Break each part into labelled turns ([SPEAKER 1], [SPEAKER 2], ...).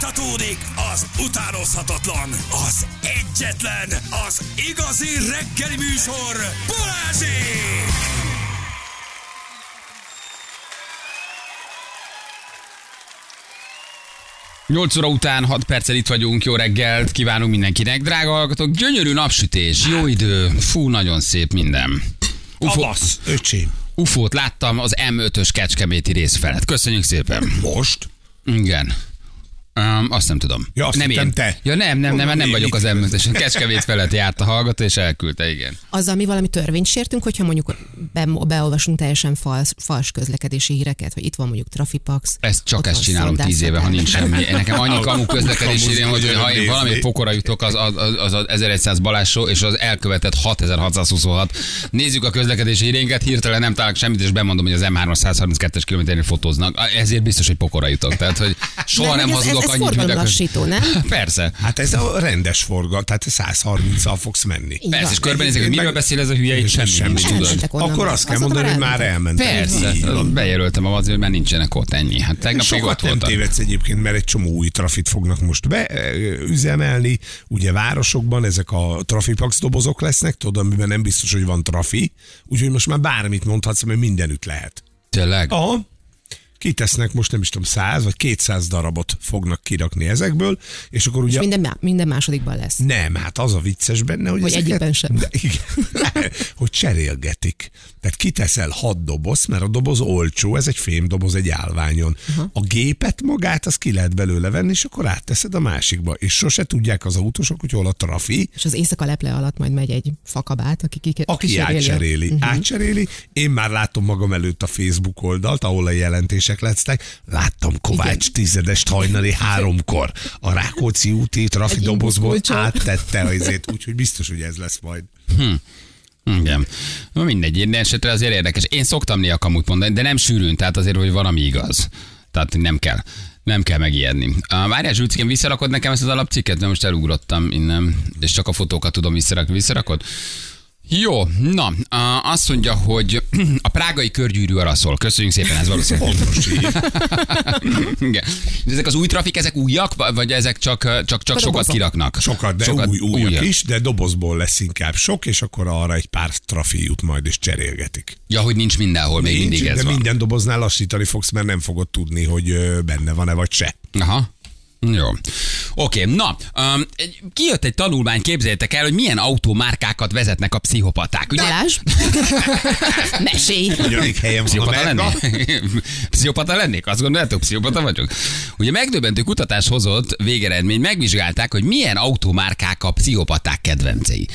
[SPEAKER 1] Folytatódik az utánozhatatlan, az egyetlen, az igazi reggeli műsor, Balázsék!
[SPEAKER 2] Nyolc óra után 6 perccel itt vagyunk, jó reggelt kívánunk mindenkinek, drága hallgatók, gyönyörű napsütés, jó idő, fú, nagyon szép minden. Ufo,
[SPEAKER 1] Avasz!
[SPEAKER 3] Öcsém.
[SPEAKER 2] ufót láttam az M5-ös kecskeméti rész felett. Köszönjük szépen.
[SPEAKER 3] Most?
[SPEAKER 2] Igen. Um, azt nem tudom.
[SPEAKER 3] Ja, azt
[SPEAKER 2] nem
[SPEAKER 3] hittem
[SPEAKER 2] én.
[SPEAKER 3] te.
[SPEAKER 2] Ja, nem, nem, nem,
[SPEAKER 3] Mondom,
[SPEAKER 2] nem, nem
[SPEAKER 3] én
[SPEAKER 2] vagyok
[SPEAKER 3] mit
[SPEAKER 2] az M5-ös. Kecskemét felett járt a hallgató, és elküldte, igen.
[SPEAKER 4] Azzal mi valami törvényt sértünk, hogyha mondjuk be, beolvasunk teljesen fals, fals közlekedési híreket, hogy itt van mondjuk trafipax.
[SPEAKER 2] Ezt csak
[SPEAKER 4] ott
[SPEAKER 2] ezt
[SPEAKER 4] van
[SPEAKER 2] csinálom tíz éve, ha
[SPEAKER 4] szondászatás.
[SPEAKER 2] nincs semmi. Nekem annyi kamu közlekedés
[SPEAKER 3] Kamuzni,
[SPEAKER 2] írja, hogy ha én
[SPEAKER 3] nézni.
[SPEAKER 2] valami pokora jutok, az az, az, az 1100 balásó, és az elkövetett 6626. Nézzük a közlekedési hírénket, hirtelen nem találok semmit, és bemondom, hogy az M3-as 132-es kilométerén fotóznak. Ezért biztos, hogy pokora jutok. Tehát, hogy soha
[SPEAKER 4] De
[SPEAKER 2] nem,
[SPEAKER 4] hogy ez-
[SPEAKER 2] hazudok
[SPEAKER 4] ez, ez
[SPEAKER 2] annyit, mint a köz-
[SPEAKER 4] forgalomlassító, nem?
[SPEAKER 2] Persze.
[SPEAKER 3] Hát ez a rendes forgal, tehát 130-al fogsz menni.
[SPEAKER 4] Így
[SPEAKER 2] Persze,
[SPEAKER 4] van.
[SPEAKER 2] és körbenézek, hogy miről beszél ez a hülye, itt semmi, nem
[SPEAKER 3] Semmit.
[SPEAKER 2] is tudod.
[SPEAKER 4] Elmentek onnan.
[SPEAKER 3] Akkor azt kell
[SPEAKER 4] Azóta
[SPEAKER 3] mondani, hogy már elmentem.
[SPEAKER 2] Persze,
[SPEAKER 3] Így van.
[SPEAKER 2] bejelöltem a azért, mert nincsenek ott ennyi. Hát tegnap még ott
[SPEAKER 3] Sokat nem
[SPEAKER 2] voltam.
[SPEAKER 3] tévedsz egyébként, mert egy csomó új trafit fognak most beüzemelni. Ugye városokban ezek a trafipax dobozok lesznek, tudod, amiben nem biztos, hogy van trafi. Úgyhogy most már bármit mondhatsz, mert mindenütt lehet.
[SPEAKER 2] Tényleg?
[SPEAKER 3] Aha. Kitesznek most nem is tudom, 100 vagy 200 darabot fognak kirakni ezekből, és akkor ugye
[SPEAKER 4] És minden, má- minden másodikban lesz.
[SPEAKER 3] Nem, hát az a vicces benne, hogy,
[SPEAKER 4] Hogy
[SPEAKER 3] ezeket-
[SPEAKER 4] egyikben sem.
[SPEAKER 3] De, igen, hogy cserélgetik. Tehát kiteszel hat doboz, mert a doboz olcsó, ez egy fémdoboz egy állványon. A gépet magát, azt ki lehet belőle venni, és akkor átteszed a másikba. És sose tudják az autósok, hogy hol a trafi,
[SPEAKER 4] És az éjszaka leple alatt majd megy egy fakabát, aki ki
[SPEAKER 3] aki
[SPEAKER 4] kíséri a-
[SPEAKER 3] átcseréli. Uh-huh. Átcseréli. Én már látom magam előtt a Facebook oldalt, ahol a jelentések lettek. Láttam Kovács Igen. tizedest hajnali háromkor. A Rákóczi úti trafi
[SPEAKER 4] Egy
[SPEAKER 3] dobozból
[SPEAKER 4] imbuszkulcsal.
[SPEAKER 3] áttette azért, úgyhogy biztos, hogy ez lesz majd.
[SPEAKER 2] Igen. Na mindegy, minden esetre azért érdekes. Én szoktam néha kamut mondani, de nem sűrűn, tehát azért, hogy valami igaz. Tehát nem kell. Nem kell megijedni. Ah, Várjál, Zsülcikém, visszarakod nekem ezt az alapcikket? Mert most elugrottam innen, és csak a fotókat tudom visszarakni. Visszarakod? Jó, na, ah, azt mondja, hogy a prágai körgyűrű arra szól. Köszönjük szépen, ez valószínűleg.
[SPEAKER 3] Pontos így.
[SPEAKER 2] Igen. De ezek az új trafik, ezek újak, vagy- vagy ezek csak, csak, csak sokat
[SPEAKER 4] dobozok.
[SPEAKER 2] kiraknak?
[SPEAKER 3] Sokat, de sokat, új, újak, is, de dobozból lesz inkább sok, és akkor arra egy pár trafi jut majd, és cserélgetik.
[SPEAKER 2] Ja, hogy nincs mindenhol, még
[SPEAKER 3] Nincs,
[SPEAKER 2] mindig ez
[SPEAKER 3] de
[SPEAKER 2] van.
[SPEAKER 3] minden doboznál lassítani fogsz, mert nem fogod tudni, hogy ö, benne van-e vagy se.
[SPEAKER 2] Aha. Jó. Oké, na, um, egy- kijött egy tanulmány, képzeljétek el, hogy milyen autómárkákat vezetnek a pszichopaták. Ugye?
[SPEAKER 4] Balázs? Mesélj!
[SPEAKER 3] Ugyanik helyen van a
[SPEAKER 2] Pszichopata
[SPEAKER 3] merga.
[SPEAKER 2] lennék? pszichopata lennék? Azt gondoljátok, pszichopata vagyok? Ugye megdöbbentő kutatás hozott végeredmény, megvizsgálták, hogy milyen automárkák a pszichopaták kedvencei.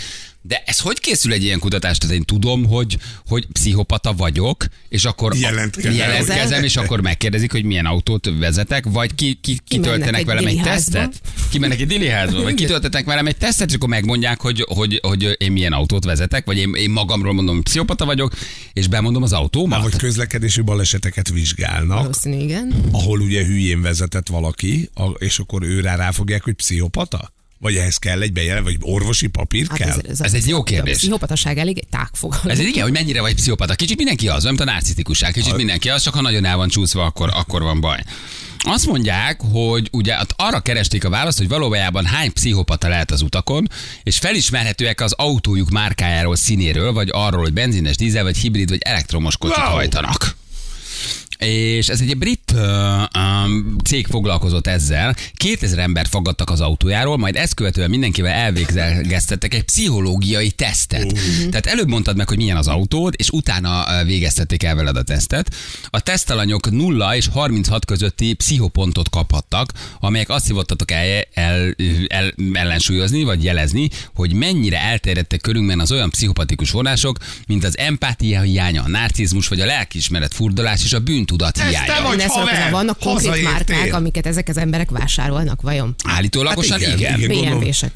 [SPEAKER 2] De ez hogy készül egy ilyen kutatás? Tehát én tudom, hogy, hogy pszichopata vagyok, és akkor
[SPEAKER 3] Jelentkezel.
[SPEAKER 2] jelentkezem, és akkor megkérdezik, hogy milyen autót vezetek, vagy ki, ki, kitöltenek
[SPEAKER 4] egy
[SPEAKER 2] velem egy
[SPEAKER 4] diliházba.
[SPEAKER 2] tesztet? Kimennek egy diliházba, vagy kitöltetek velem egy tesztet, és akkor megmondják, hogy, hogy, hogy én milyen autót vezetek, vagy én, én magamról mondom, hogy pszichopata vagyok, és bemondom az autómat.
[SPEAKER 3] Vagy közlekedési baleseteket vizsgálnak,
[SPEAKER 4] Valószínű, igen.
[SPEAKER 3] ahol ugye hülyén vezetett valaki, a- és akkor őre ráfogják, hogy pszichopata? Vagy ehhez kell egy bejelent, vagy orvosi papír
[SPEAKER 4] Hát
[SPEAKER 3] kell?
[SPEAKER 4] a
[SPEAKER 2] Ez egy jó kérdés.
[SPEAKER 4] A pszichopataság elég egy tágfogalom.
[SPEAKER 2] Ez egy igen, hogy mennyire vagy pszichopata. Kicsit mindenki az, olyan, mint a narcisztikusság. Kicsit mindenki az, csak ha nagyon el van csúszva, akkor, akkor van baj. Azt mondják, hogy ugye ott arra keresték a választ, hogy valójában hány pszichopata lehet az utakon, és felismerhetőek az autójuk márkájáról, színéről, vagy arról, hogy benzines, dízel, vagy hibrid, vagy elektromos kocsit
[SPEAKER 3] Wow!
[SPEAKER 2] hajtanak. És ez egy brit ö, um, cég foglalkozott ezzel. 2000 embert fogadtak az autójáról, majd ezt követően mindenkivel elvégeztettek egy pszichológiai tesztet. Tehát előbb mondtad meg, hogy milyen az autód, és utána ö, végeztették el veled a tesztet. A tesztalanyok 0 és 36 közötti pszichopontot kaphattak, amelyek azt hivattatok el, el, el, ellensúlyozni, vagy jelezni, hogy mennyire elterjedtek körünkben az olyan pszichopatikus vonások, mint az empátia hiánya, a narcizmus, vagy a lelkiismeret furdalás és a bűntudat hiánya.
[SPEAKER 3] vagy,
[SPEAKER 4] Én ezt
[SPEAKER 3] haver!
[SPEAKER 4] mondom, vannak konkrét
[SPEAKER 3] Hazaértél!
[SPEAKER 4] márkák, amiket ezek az emberek vásárolnak, vajon?
[SPEAKER 2] Állítólagosan
[SPEAKER 3] Hát
[SPEAKER 2] igen.
[SPEAKER 3] igen,
[SPEAKER 2] igen.
[SPEAKER 3] igen. gondolom.
[SPEAKER 4] BMW-sek.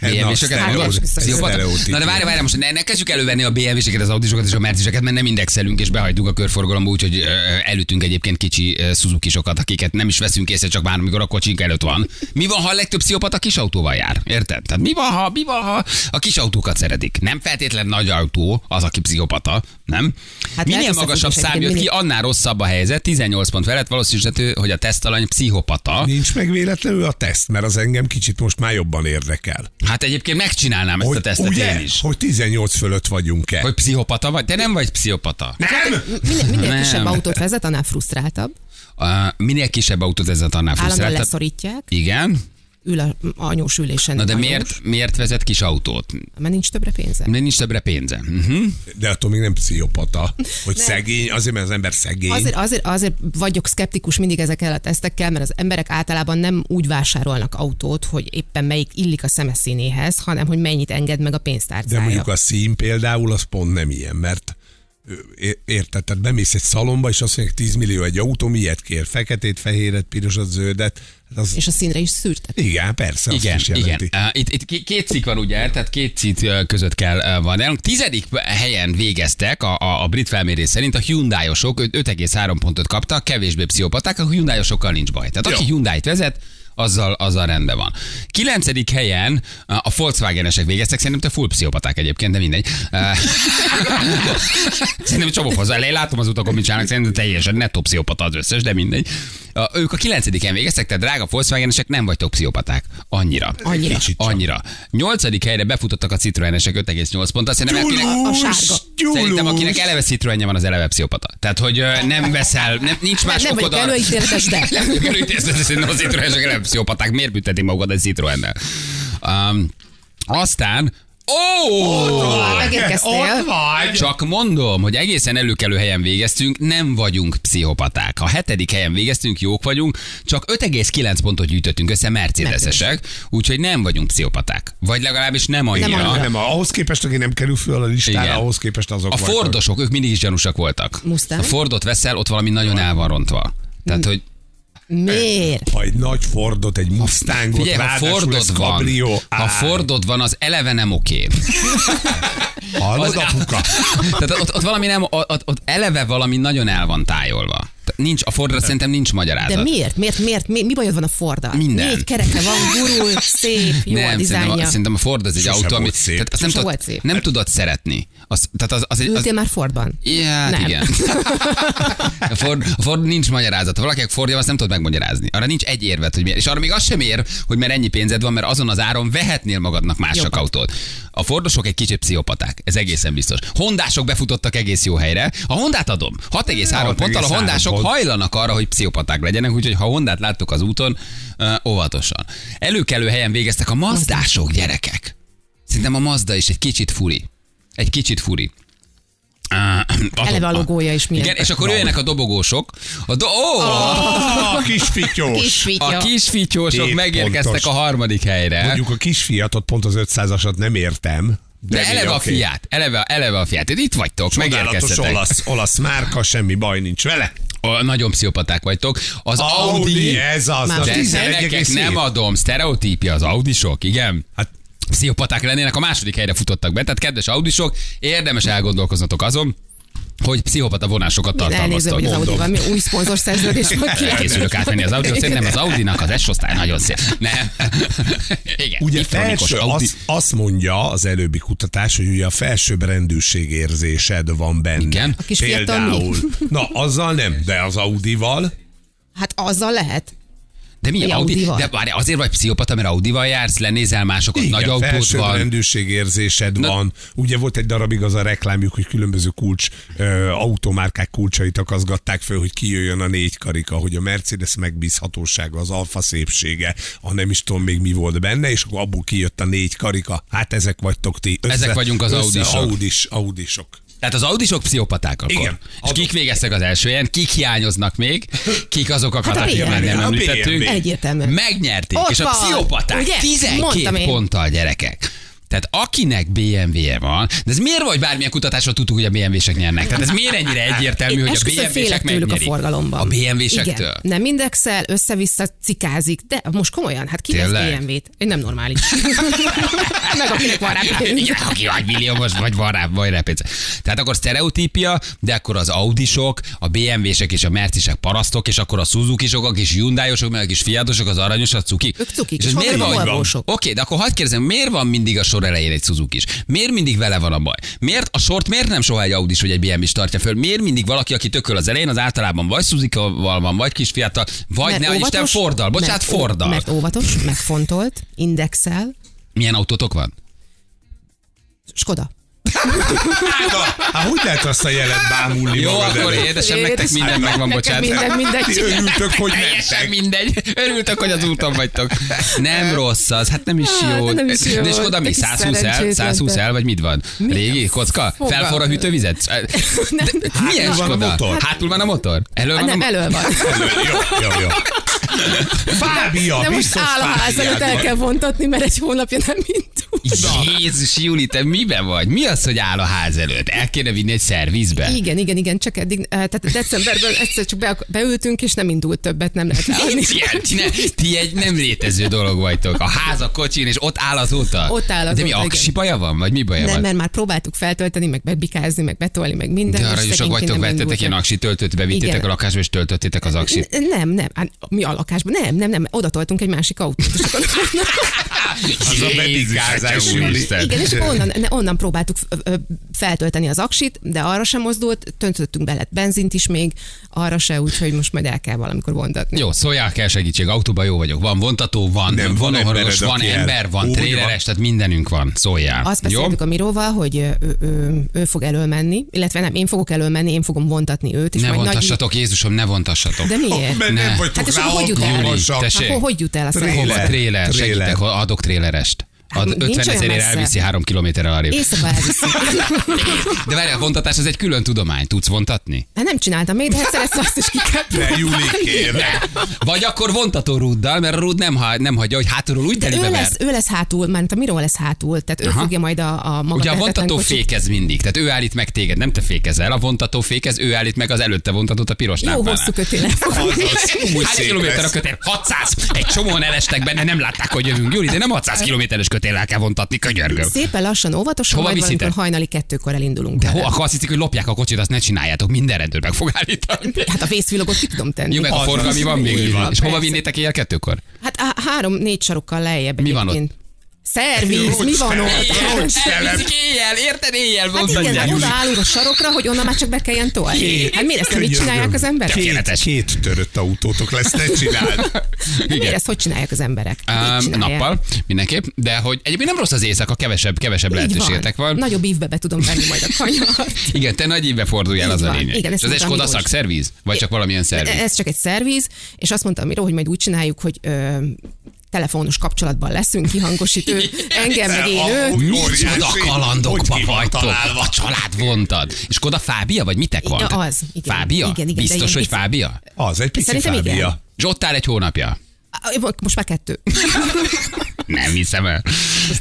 [SPEAKER 2] BMW-seket
[SPEAKER 3] sztereó-
[SPEAKER 2] mondod? Pszichopata?
[SPEAKER 3] sztereotípia.
[SPEAKER 2] hát, Na de várj, várj, most ne, ne kezdjük elővenni a BMW-seket, az Audisokat és a Merciseket, mert nem indexelünk és behajtjuk a körforgalomba, úgyhogy ö, elütünk egyébként kicsi ö, Suzuki-sokat, akiket nem is veszünk észre, csak már amikor a kocsink előtt van. Mi van, ha a legtöbb pszichopata kis autóval jár? Érted? Tehát mi van, ha, mi van, ha a kis autókat szeretik? Nem feltétlen nagy autó az, aki pszichopata, nem? Hát
[SPEAKER 4] Hát
[SPEAKER 2] minél
[SPEAKER 4] lehet
[SPEAKER 2] magasabb
[SPEAKER 4] összefüggés
[SPEAKER 2] szám jött
[SPEAKER 4] egyébként,
[SPEAKER 2] ki, annál rosszabb a helyzet. 18 pont felett valószínűsíthető, hogy a tesztalany pszichopata.
[SPEAKER 3] Nincs meg véletlenül a teszt, mert az engem kicsit most már jobban érdekel.
[SPEAKER 2] Hát egyébként megcsinálnám ezt a tesztet
[SPEAKER 3] ugye,
[SPEAKER 2] én is.
[SPEAKER 3] hogy 18 fölött vagyunk-e?
[SPEAKER 2] Hogy pszichopata vagy? Te nem vagy pszichopata.
[SPEAKER 3] nem!
[SPEAKER 4] Minél, Hát, minél
[SPEAKER 2] Nem.
[SPEAKER 4] kisebb autót vezet, annál frusztráltabb.
[SPEAKER 2] Uh, minél kisebb autót vezet, annál
[SPEAKER 4] Állandóan
[SPEAKER 2] frusztráltabb.
[SPEAKER 4] leszorítják,
[SPEAKER 2] Igen.
[SPEAKER 4] ül a anyós ülésen.
[SPEAKER 2] Na de
[SPEAKER 4] anyós,
[SPEAKER 2] miért, miért vezet kis autót?
[SPEAKER 4] Mert nincs többre pénze.
[SPEAKER 2] Mert nincs többre pénze. Uh-huh.
[SPEAKER 3] De attól még nem pszichopata. Hogy nem. szegény, azért, mert az ember szegény.
[SPEAKER 4] Azért, azért, azért vagyok szkeptikus mindig ezekkel a tesztekkel, mert az emberek általában nem úgy vásárolnak autót, hogy éppen melyik illik a szemeszínéhez, hanem hogy mennyit enged meg a
[SPEAKER 3] De
[SPEAKER 4] pénztárcája.
[SPEAKER 3] mondjuk a szín például, az pont nem ilyen, mert ö, é- érted, tehát bemész egy szalomba, és azt mondják, 10 millió egy autó, miért kér? Feketét, fehéret, pirosat, zöldet. Hát az,
[SPEAKER 4] És a színre is szűrtek.
[SPEAKER 3] igen, persze,
[SPEAKER 2] Igen,
[SPEAKER 3] azt is
[SPEAKER 2] igen.
[SPEAKER 3] jelenti.
[SPEAKER 2] Uh, itt, itt ki- két cikk van ugye, tehát két cikk uh, között kell uh, van. El. Tizedik helyen végeztek a, a, a brit felmérés szerint a Hyundai-osok öt- 5,3 pontot kaptak, kevésbé pszichopaták, a Hyundai-osokkal nincs baj. Tehát aki Hyundai-t vezet, azzal, azzal rendben van. Kilencedik helyen uh, a Volkswagen-esek végeztek, szerintem te full pszichopaták egyébként, de mindegy. Uh, szerintem csomó hozzá, én látom az utakon, mit csinálnak, szerintem teljesen netto pszichopata az összes, de mindegy. Uh, ők a kilencediken végeztek, tehát drága Volkswagen-esek nem vagytok pszichopaták. Annyira.
[SPEAKER 4] Annyira.
[SPEAKER 3] Kicsit csak.
[SPEAKER 2] Annyira. Nyolcadik helyre befutottak a Citroenesek 5,8 ponttal. Szerintem, akinek,
[SPEAKER 4] A
[SPEAKER 3] Gyulus,
[SPEAKER 4] sárga.
[SPEAKER 3] gyulus.
[SPEAKER 2] szerintem akinek eleve Citroenje van, az eleve pszichopata. Tehát, hogy ö, nem veszel, nem, nincs más
[SPEAKER 4] nem
[SPEAKER 2] okod
[SPEAKER 4] vagyok előítéletes, de.
[SPEAKER 2] nem vagyok előítéletes, de szerintem a Citroenesek eleve pszichopaták. Miért büntetik magukat egy Citroennel? Um, aztán Ó!
[SPEAKER 4] Megérkeztél?
[SPEAKER 2] Csak mondom, hogy egészen előkelő helyen végeztünk, nem vagyunk pszichopaták. Ha hetedik helyen végeztünk, jók vagyunk, csak 5,9 pontot gyűjtöttünk össze mercedesesek, úgyhogy nem vagyunk pszichopaták. Vagy legalábbis nem annyira.
[SPEAKER 4] annyira.
[SPEAKER 3] Ja. Nem, ahhoz képest, aki nem kerül föl a listára,
[SPEAKER 2] Igen.
[SPEAKER 3] Igen. ahhoz képest azok
[SPEAKER 2] A
[SPEAKER 3] voltak.
[SPEAKER 2] Fordosok, ők mindig is gyanúsak voltak.
[SPEAKER 4] Mustang?
[SPEAKER 2] A Fordot veszel, ott valami nagyon el van rontva. Tehát, hogy
[SPEAKER 4] Miért?
[SPEAKER 3] Ha egy nagy Fordot, egy Mustangot,
[SPEAKER 2] figyelj, ha
[SPEAKER 3] ráadásul
[SPEAKER 2] Fordod
[SPEAKER 3] ez
[SPEAKER 2] van,
[SPEAKER 3] kabrió,
[SPEAKER 2] ha
[SPEAKER 3] á,
[SPEAKER 2] Fordod van, az eleve nem oké.
[SPEAKER 3] Hallod,
[SPEAKER 2] az-
[SPEAKER 3] apuka?
[SPEAKER 2] Tehát ott, ott valami nem, ott, ott eleve valami nagyon el van tájolva. Tehát Nincs, a Fordra szerintem nincs magyarázat.
[SPEAKER 4] De miért? Miért? Miért? Mi, mi bajod van a Forddal?
[SPEAKER 2] Hát Minden.
[SPEAKER 4] Négy kereke van, gurul, szép, jó a
[SPEAKER 2] nem, szerintem, a-
[SPEAKER 4] dizájnja.
[SPEAKER 2] szerintem a Ford az egy
[SPEAKER 3] Sose
[SPEAKER 2] autó,
[SPEAKER 3] volt
[SPEAKER 2] ami
[SPEAKER 3] szép.
[SPEAKER 2] tehát azt nem,
[SPEAKER 4] Sose
[SPEAKER 2] tudod,
[SPEAKER 4] volt szép.
[SPEAKER 2] nem tudod szeretni. Az, tehát az, az, egy- az,
[SPEAKER 4] Ültél már Fordban?
[SPEAKER 2] Ja,
[SPEAKER 4] Nem.
[SPEAKER 2] Hát igen. A Ford, a Ford nincs magyarázat. Ha valakinek Fordja, azt nem tudod megmagyarázni. Arra nincs egy érvet, hogy miért. És arra még az sem ér, hogy mert ennyi pénzed van, mert azon az áron vehetnél magadnak mások
[SPEAKER 4] Jobbat.
[SPEAKER 2] autót. A Fordosok egy kicsit pszichopaták, ez egészen biztos. Hondások befutottak egész jó helyre. A Hondát adom. 6,3 ponttal a
[SPEAKER 3] 6,3
[SPEAKER 2] Hondások
[SPEAKER 3] pont.
[SPEAKER 2] hajlanak arra, hogy pszichopaták legyenek, úgyhogy ha Hondát láttok az úton, ö, óvatosan. Előkelő helyen végeztek a mazdások gyerekek. Szerintem a Mazda is egy kicsit furi. Egy kicsit furi. Ah,
[SPEAKER 4] Eleve a logója is milyen.
[SPEAKER 2] Igen, és akkor jöjjenek a dobogósok. A do- ó,
[SPEAKER 3] Ah, A kis fityós.
[SPEAKER 4] Kis
[SPEAKER 2] a
[SPEAKER 4] fitya.
[SPEAKER 2] kisfityósok
[SPEAKER 3] Két
[SPEAKER 2] megérkeztek
[SPEAKER 3] pontos.
[SPEAKER 2] a harmadik helyre.
[SPEAKER 3] Mondjuk a kisfiatot, pont az 500-asat nem értem.
[SPEAKER 2] de eleve a
[SPEAKER 3] oké.
[SPEAKER 2] fiát, eleve, eleve a fiát. Itt vagytok,
[SPEAKER 3] Csodálatos
[SPEAKER 2] megérkeztetek.
[SPEAKER 3] olasz, olasz márka, semmi baj nincs vele.
[SPEAKER 2] Ó, Nagyon pszichopaták vagytok. Az Audi,
[SPEAKER 3] ez az,
[SPEAKER 4] Már
[SPEAKER 3] az
[SPEAKER 2] Hát de gyerekek,
[SPEAKER 3] 11,7.
[SPEAKER 2] nem adom, sztereotípia az Audisok, igen.
[SPEAKER 3] Hát
[SPEAKER 2] pszichopaták lennének, a második helyre futottak be. Tehát kedves audisok, érdemes elgondolkoznatok azon, hogy pszichopata vonásokat
[SPEAKER 4] Elnézem,
[SPEAKER 2] tartalmaztak.
[SPEAKER 4] hogy az Audi-ban mi új szponzor szerződés van kiírva.
[SPEAKER 2] Elkészülök átvenni az Audi-ot, szerintem az Audi-nak az S osztály nagyon szép. Nem. Igen,
[SPEAKER 3] ugye
[SPEAKER 2] Iftronikus
[SPEAKER 3] felső,
[SPEAKER 2] Audi.
[SPEAKER 3] azt, azt mondja az előbbi kutatás, hogy ugye a felsőbb rendűségérzésed van benne.
[SPEAKER 2] Igen. A
[SPEAKER 4] kis fiatal mi?
[SPEAKER 3] Például. Na, azzal nem, de az Audival.
[SPEAKER 4] Hát azzal lehet.
[SPEAKER 2] De mi
[SPEAKER 4] egy
[SPEAKER 2] Audi?
[SPEAKER 4] Audival.
[SPEAKER 2] De várj, azért vagy pszichopata, mert Audival jársz, lenézel másokat,
[SPEAKER 3] Igen,
[SPEAKER 2] nagy autót
[SPEAKER 3] felsőbb
[SPEAKER 2] van.
[SPEAKER 3] rendőrségérzésed
[SPEAKER 2] Na-
[SPEAKER 3] van. Ugye volt egy darabig az a reklámjuk, hogy különböző kulcs, ö, automárkák kulcsait akaszgatták föl, hogy kijöjjön a négy karika, hogy a Mercedes megbízhatósága, az alfa szépsége, a nem is tudom még mi volt benne, és akkor abból kijött a négy karika. Hát ezek vagytok ti. Össze,
[SPEAKER 2] Ezek vagyunk az
[SPEAKER 3] össze
[SPEAKER 2] Audisok.
[SPEAKER 3] Audis, Audisok.
[SPEAKER 2] Tehát az audisok pszichopaták akkor.
[SPEAKER 3] Igen.
[SPEAKER 2] És kik végeztek az első helyen, kik hiányoznak még, kik azok a
[SPEAKER 4] Hát a
[SPEAKER 2] kategóriák,
[SPEAKER 4] BMW.
[SPEAKER 2] nem
[SPEAKER 3] A
[SPEAKER 2] említettünk.
[SPEAKER 3] BMW.
[SPEAKER 4] Egyértelműen.
[SPEAKER 2] Megnyerték,
[SPEAKER 4] Ott
[SPEAKER 2] és a
[SPEAKER 4] van,
[SPEAKER 2] pszichopaták
[SPEAKER 4] ugye?
[SPEAKER 2] 12
[SPEAKER 4] Mondtam én.
[SPEAKER 2] ponttal gyerekek. Tehát akinek BMW-je van, de ez miért vagy bármilyen kutatásra tudtuk, hogy a BMW-sek nyernek? Tehát ez miért ennyire egyértelmű,
[SPEAKER 4] Én
[SPEAKER 2] hogy a
[SPEAKER 4] esküszöm,
[SPEAKER 2] BMW-sek
[SPEAKER 4] félek tőlük a
[SPEAKER 2] megnyerik?
[SPEAKER 4] forgalomban.
[SPEAKER 2] A BMW-sektől?
[SPEAKER 4] Igen. Nem indexel, össze-vissza cikázik, de most komolyan, hát ki vesz
[SPEAKER 2] Tényleg?
[SPEAKER 4] BMW-t? Én nem normális. Meg akinek van rá pénz.
[SPEAKER 2] Igen, aki vagy milliómos, vagy van rá, vagy rá pénz. Tehát akkor sztereotípia, de akkor az Audisok, a BMW-sek és a Mercisek parasztok, és akkor a Suzuki-sok, a kis Hyundai-osok, meg a kis Fiatosok, az aranyos, a cukik.
[SPEAKER 4] Ők cukik,
[SPEAKER 2] ez
[SPEAKER 4] és
[SPEAKER 2] miért
[SPEAKER 4] vannak
[SPEAKER 2] van? Oké,
[SPEAKER 4] Volvósok.
[SPEAKER 2] de akkor hagyd kérdezem, miért van mindig a sor elején egy Suzuki is? Miért mindig vele van a baj? Miért a sort miért nem soha egy Audis vagy egy BMW is tartja föl? Miért mindig valaki, aki tököl az elején, az általában vagy Suzuki-val van, vagy kis fiatal, vagy ne, adj Isten, Fordal. Bocsánat,
[SPEAKER 4] mert, ó-
[SPEAKER 2] Fordal.
[SPEAKER 4] Mert óvatos, megfontolt, indexel,
[SPEAKER 2] Milyen autótok van?
[SPEAKER 4] Skoda.
[SPEAKER 3] Hát hogy lehet azt a jelet bámulni
[SPEAKER 2] Jó,
[SPEAKER 3] magad
[SPEAKER 2] akkor
[SPEAKER 3] elé?
[SPEAKER 2] édesem, nektek minden megvan,
[SPEAKER 4] Nekem
[SPEAKER 2] bocsánat.
[SPEAKER 4] Minden,
[SPEAKER 3] Ti
[SPEAKER 4] mindegy.
[SPEAKER 3] örültök, hogy
[SPEAKER 2] Teljesen
[SPEAKER 3] mentek.
[SPEAKER 2] mindegy. Örültök, hogy az úton vagytok. Nem rossz az, hát nem is
[SPEAKER 4] Hát,
[SPEAKER 2] jó.
[SPEAKER 4] nem is jó.
[SPEAKER 2] De és oda mi?
[SPEAKER 4] Te kis
[SPEAKER 2] 120 el?
[SPEAKER 4] szerencsétlen
[SPEAKER 2] 120
[SPEAKER 4] te.
[SPEAKER 2] el, vagy mit van? Régi kocka?
[SPEAKER 4] fogalmam.
[SPEAKER 2] Felforr a hűtővizet? De Milyen
[SPEAKER 3] van a
[SPEAKER 2] Skoda?
[SPEAKER 3] motor.
[SPEAKER 2] Hátul van a motor? Elől van a
[SPEAKER 4] Nem,
[SPEAKER 2] motor?
[SPEAKER 4] elő van.
[SPEAKER 3] Jó, jó, jó. Fábia,
[SPEAKER 4] De most
[SPEAKER 3] biztos
[SPEAKER 4] áll a ház
[SPEAKER 3] Fábiád
[SPEAKER 4] előtt, el
[SPEAKER 3] van.
[SPEAKER 4] kell vontatni, mert egy hónapja nem indul.
[SPEAKER 2] Jézus, Juli, te miben vagy? Mi az, hogy áll a ház előtt? El kéne vinni egy szervizbe?
[SPEAKER 4] Igen, igen, igen, csak eddig, eh, tehát decemberben egyszer csak be, beültünk, és nem indult többet, nem lehet leadni.
[SPEAKER 2] Nincs ilyen, ti, ne, ti egy nem létező dolog vagytok. A ház a kocsin, és ott áll azóta.
[SPEAKER 4] Ott
[SPEAKER 2] De
[SPEAKER 4] áll
[SPEAKER 2] mi,
[SPEAKER 4] azóta, igen.
[SPEAKER 2] aksi baja van, vagy mi baja
[SPEAKER 4] Nem,
[SPEAKER 2] van?
[SPEAKER 4] mert már próbáltuk feltölteni, meg bebikázni, meg betolni, meg minden.
[SPEAKER 2] De
[SPEAKER 4] és
[SPEAKER 2] arra is sok
[SPEAKER 4] szegényként
[SPEAKER 2] vagytok,
[SPEAKER 4] nem
[SPEAKER 2] vettetek
[SPEAKER 4] indult.
[SPEAKER 2] ilyen aksi töltőt, bevittétek
[SPEAKER 4] Igen.
[SPEAKER 2] a lakásba, és töltöttétek az aksit.
[SPEAKER 4] N- Nem, nem, hát mi a lakásban? Nem, nem, nem, oda toltunk egy másik autót. És akkor,
[SPEAKER 3] Az a bebizgázás, Juli.
[SPEAKER 4] igen, és akkor onnan, ne- onnan próbáltuk ö, ö, feltölteni az aksit, de arra sem mozdult, töntöttünk bele benzint is még, arra se, úgyhogy most majd el kell valamikor vontatni.
[SPEAKER 2] Jó, szóljál kell segítség, autóban jó vagyok. Van vontató, van,
[SPEAKER 3] Nem,
[SPEAKER 2] nem, van
[SPEAKER 3] van
[SPEAKER 2] ohoros,
[SPEAKER 3] embered,
[SPEAKER 2] van
[SPEAKER 3] aki el-
[SPEAKER 2] ember, van
[SPEAKER 3] Úgy
[SPEAKER 2] tréleres,
[SPEAKER 3] van.
[SPEAKER 2] tehát mindenünk van. Szóljál.
[SPEAKER 4] Azt
[SPEAKER 2] jó?
[SPEAKER 4] beszéltük a Miróval, hogy ö, ő, ő, ő fog elölmenni, illetve nem, én fogok elölmenni, én fogom vontatni őt. És
[SPEAKER 2] Ne
[SPEAKER 4] majd nagy-
[SPEAKER 2] vontassatok, Jézusom, ne vontassatok.
[SPEAKER 4] De miért?
[SPEAKER 3] Mert
[SPEAKER 2] Ne.
[SPEAKER 3] nem vagytok
[SPEAKER 4] Hát és
[SPEAKER 3] rá
[SPEAKER 4] akkor hogy jut el?
[SPEAKER 3] alkalmasak.
[SPEAKER 2] Júli,
[SPEAKER 4] Hát,
[SPEAKER 2] tessék.
[SPEAKER 4] hol- hogy jut el a
[SPEAKER 3] Tréler.
[SPEAKER 4] szerelem?
[SPEAKER 2] Hova tréler?
[SPEAKER 3] Tréler.
[SPEAKER 2] Segítek, ha adok trélerest.
[SPEAKER 4] Hát,
[SPEAKER 2] Ad
[SPEAKER 4] nincs
[SPEAKER 2] 50
[SPEAKER 4] olyan
[SPEAKER 2] ezerért
[SPEAKER 4] messze.
[SPEAKER 2] elviszi három kilométerre arrébb.
[SPEAKER 4] Éjszaka elviszi.
[SPEAKER 2] De várj, a vontatás az egy külön tudomány. Tudsz vontatni?
[SPEAKER 4] Hát nem csináltam még, de egyszer ezt azt is Hát ki kell
[SPEAKER 3] Ne, Juli,
[SPEAKER 4] próbálni.
[SPEAKER 3] kérlek.
[SPEAKER 2] Vagy akkor vontató rúddal, mert a rúd nem, ha, nem hagyja, hogy hátulról úgy
[SPEAKER 4] De
[SPEAKER 2] telibe
[SPEAKER 4] ő
[SPEAKER 2] ver.
[SPEAKER 4] lesz, ő lesz hátul, mert a Miró lesz hátul, tehát ő
[SPEAKER 2] Aha.
[SPEAKER 4] fogja majd a, a maga
[SPEAKER 2] Ugye a
[SPEAKER 4] tehetetlen
[SPEAKER 2] vontató
[SPEAKER 4] kocsit.
[SPEAKER 2] fékez mindig, tehát ő állít meg téged, nem te fékezel, a vontató fékez, ő állít meg az előtte vontatót a piros
[SPEAKER 4] Jó
[SPEAKER 2] lámpánál.
[SPEAKER 4] hosszú kötélet fog
[SPEAKER 3] Azaz, úgy
[SPEAKER 2] Hány
[SPEAKER 3] szép
[SPEAKER 2] kilométer a
[SPEAKER 3] lesz.
[SPEAKER 2] kötél? 600! Egy csomóan elestek benne, nem látták, hogy jövünk. Júli, de nem 600 kilométeres kötéllel kell vontatni, könyörgöm.
[SPEAKER 4] Szépen lassan, óvatosan,
[SPEAKER 2] Hova
[SPEAKER 4] majd
[SPEAKER 2] viszitek?
[SPEAKER 4] valamikor hajnali kettőkor elindulunk.
[SPEAKER 2] De
[SPEAKER 4] vele.
[SPEAKER 2] hol, akkor azt hiszik, hogy lopják a kocsit, azt ne csináljátok, minden rendőr meg fog állítani.
[SPEAKER 4] Hát a vészvilogot ki tudom tenni.
[SPEAKER 2] Jó, meg a
[SPEAKER 3] Az
[SPEAKER 2] forgalmi
[SPEAKER 3] az
[SPEAKER 2] van még.
[SPEAKER 3] úgy
[SPEAKER 2] Júli.
[SPEAKER 3] van,
[SPEAKER 2] És hova
[SPEAKER 4] persze.
[SPEAKER 2] vinnétek éjjel kettőkor?
[SPEAKER 4] Hát á, három-négy sarokkal lejjebb
[SPEAKER 2] Mi van ott?
[SPEAKER 4] egyébként. Szerviz, mi van ott?
[SPEAKER 3] Éjjel. Hogy stelep?
[SPEAKER 2] Elviszik éjjel, érted éjjel,
[SPEAKER 4] Hát igen,
[SPEAKER 2] vontatják.
[SPEAKER 4] hát
[SPEAKER 2] Júli.
[SPEAKER 4] odaállunk a sarokra, hogy onnan már csak be kelljen tolni. Hát miért ezt nem így
[SPEAKER 3] Könyörgöm.
[SPEAKER 4] csinálják az emberek? Hát
[SPEAKER 3] Két,
[SPEAKER 2] Tökéletes.
[SPEAKER 3] két törött autótok lesz, ne csináld.
[SPEAKER 4] Hát Miért
[SPEAKER 2] Igen.
[SPEAKER 4] ezt hogy csinálják az emberek? Hát így
[SPEAKER 2] Um,
[SPEAKER 4] csinálják.
[SPEAKER 2] nappal, mindenképp, de hogy egyébként nem rossz az éjszaka, kevesebb, kevesebb
[SPEAKER 4] Így
[SPEAKER 2] lehetőségetek van.
[SPEAKER 4] Nagyobb ívbe be tudom venni majd a kanyart.
[SPEAKER 2] Igen, te nagy évbe forduljál,
[SPEAKER 4] Így
[SPEAKER 2] az a
[SPEAKER 4] van.
[SPEAKER 2] lényeg.
[SPEAKER 4] Igen,
[SPEAKER 2] És
[SPEAKER 4] ezt
[SPEAKER 2] az egy
[SPEAKER 4] mondta
[SPEAKER 2] Skoda
[SPEAKER 4] Miklós.
[SPEAKER 2] szakszerviz? Vagy csak valamilyen szerviz?
[SPEAKER 4] Ez csak egy szerviz, és azt mondtam Miró, hogy majd úgy csináljuk, hogy ö, telefonos kapcsolatban leszünk, kihangosítő, engem meg én őt.
[SPEAKER 3] Ahogy óriási,
[SPEAKER 2] Micsoda kalandokba
[SPEAKER 3] hogy ki van
[SPEAKER 2] vagytok.
[SPEAKER 3] találva.
[SPEAKER 2] A család vontad. És Skoda Fábia, vagy mitek van?
[SPEAKER 4] Ja, az, igen.
[SPEAKER 2] Fábia?
[SPEAKER 4] Igen, igen, de
[SPEAKER 2] Biztos,
[SPEAKER 4] ilyen
[SPEAKER 2] hogy
[SPEAKER 4] pici-
[SPEAKER 2] Fábia?
[SPEAKER 3] Az egy pici
[SPEAKER 4] Szerintem igen.
[SPEAKER 3] fábia.
[SPEAKER 2] És ott áll egy hónapja.
[SPEAKER 4] Á, Most már kettő.
[SPEAKER 2] Nem hiszem el.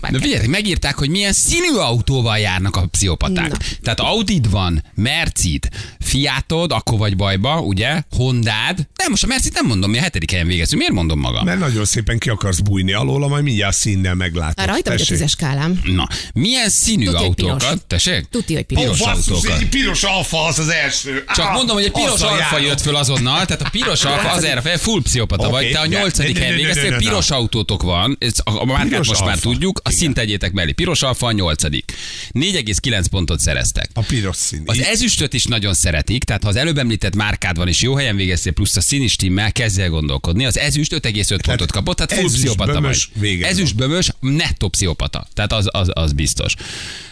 [SPEAKER 4] már
[SPEAKER 2] De figyeljetek, megírták, hogy milyen színű autóval járnak a pszichopaták.
[SPEAKER 4] Na.
[SPEAKER 2] Tehát Audid van, Mercid, Fiatod, akkor vagy bajba, ugye? Hondád. Nem, most a Mercid nem mondom, mi a hetedik helyen végezünk. Miért mondom magam?
[SPEAKER 3] Mert nagyon szépen ki akarsz bújni alóla, majd mindjárt színnel meglátod.
[SPEAKER 4] Már rajta vagy a
[SPEAKER 3] Tessék.
[SPEAKER 4] tízes skálám.
[SPEAKER 2] Na, milyen színű
[SPEAKER 4] Tudja, hogy piros.
[SPEAKER 2] autókat? Tessék?
[SPEAKER 4] Tudja, hogy piros.
[SPEAKER 2] piros
[SPEAKER 3] Ó, basszus,
[SPEAKER 2] autókat.
[SPEAKER 3] egy piros alfa az az első.
[SPEAKER 2] Csak
[SPEAKER 3] Á,
[SPEAKER 2] mondom, hogy egy piros
[SPEAKER 3] azzal
[SPEAKER 2] alfa
[SPEAKER 3] járok.
[SPEAKER 2] jött föl azonnal, tehát a piros alfa az erre fel, full pszichopata
[SPEAKER 3] Oké,
[SPEAKER 2] vagy, te a
[SPEAKER 3] de-
[SPEAKER 2] nyolcadik
[SPEAKER 3] de- de-
[SPEAKER 2] helyen
[SPEAKER 3] de- de- de-
[SPEAKER 2] végeztél,
[SPEAKER 3] de-
[SPEAKER 2] piros autótok van, ez a, a márkát
[SPEAKER 3] Piros
[SPEAKER 2] most már
[SPEAKER 3] alfa.
[SPEAKER 2] tudjuk, a
[SPEAKER 3] Igen.
[SPEAKER 2] szint tegyétek mellé. Piros alfa a nyolcadik. 4,9 pontot szereztek.
[SPEAKER 3] A piros szín.
[SPEAKER 2] Az ezüstöt is nagyon szeretik, tehát ha az előbb említett márkád van és jó helyen végeztél, plusz a színis timmel kezdj el gondolkodni. Az ezüst 5,5 pontot kapott, tehát full
[SPEAKER 3] ezüstbömös
[SPEAKER 2] pszichopata vagy.
[SPEAKER 3] véged
[SPEAKER 2] Ezüstbömös, nettó pszichopata. Tehát az, az, az biztos.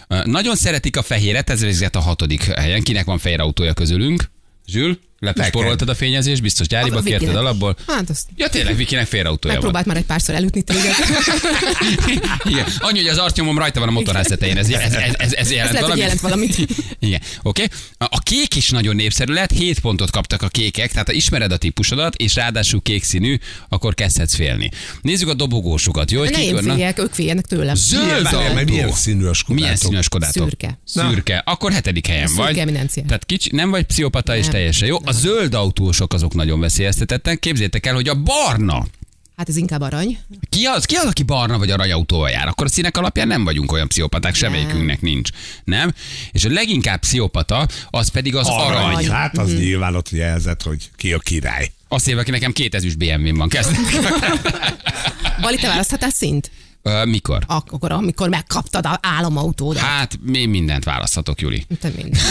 [SPEAKER 2] Ö, Nagyon szeretik a fehéret, ez vezet a hatodik helyen. Kinek van fehér autója közülünk? Zsül? Lepisporoltad a fényezést, biztos gyáriba
[SPEAKER 4] A-
[SPEAKER 2] kérted
[SPEAKER 4] Vikinek.
[SPEAKER 2] alapból.
[SPEAKER 4] Hát azt
[SPEAKER 2] Ja tényleg, Vikinek félreautója van.
[SPEAKER 4] megpróbált már egy párszor elütni téged.
[SPEAKER 2] Igen. Annyi, hogy az arcnyomom rajta van a motorháztetején. Ez, ez, ez, ez, ez
[SPEAKER 4] Ez
[SPEAKER 2] jelent
[SPEAKER 4] lehet, hogy
[SPEAKER 2] valamit?
[SPEAKER 4] jelent valamit.
[SPEAKER 2] Igen, oké. Okay. A kék is nagyon népszerű lett, 7 pontot kaptak a kékek, tehát ha ismered a típusodat, és ráadásul kék színű, akkor kezdhetsz félni. Nézzük a dobogósukat, jó? Hogy
[SPEAKER 4] Ne
[SPEAKER 2] kik
[SPEAKER 4] én
[SPEAKER 2] vannak?
[SPEAKER 4] figyelek, ők figyelnek tőlem.
[SPEAKER 2] Zöld
[SPEAKER 3] Várjál,
[SPEAKER 2] autó.
[SPEAKER 3] mert milyen színű a Skodátok?
[SPEAKER 2] Milyen színű a skodátok?
[SPEAKER 4] Szürke.
[SPEAKER 2] Na. Szürke. Akkor hetedik helyen
[SPEAKER 4] Szürke
[SPEAKER 2] vagy.
[SPEAKER 4] eminencia.
[SPEAKER 2] Tehát kicsi, nem vagy pszichopata és
[SPEAKER 4] Nem.
[SPEAKER 2] teljesen jó. A zöld autósok azok nagyon veszélyeztetettek. Képzétek el, hogy a barna.
[SPEAKER 4] Hát ez inkább arany.
[SPEAKER 2] Ki az, ki az, aki barna vagy aranyautóval jár? Akkor a színek alapján nem vagyunk olyan pszichopaták, semmelyikünknek nincs. Nem? És a leginkább pszichopata, az pedig az arany. arany.
[SPEAKER 3] Hát
[SPEAKER 4] Mhm.
[SPEAKER 3] az nyilván ott jelzett, hogy ki a király.
[SPEAKER 2] Azt éve, aki nekem két ezüst BMW-n van. Kezdek.
[SPEAKER 4] Bali, te választhatál szint?
[SPEAKER 2] Ö, Mikor?
[SPEAKER 4] Ak- Akkor, amikor megkaptad a álomautódat.
[SPEAKER 2] Hát, én mindent választhatok, Juli.
[SPEAKER 4] Te minden.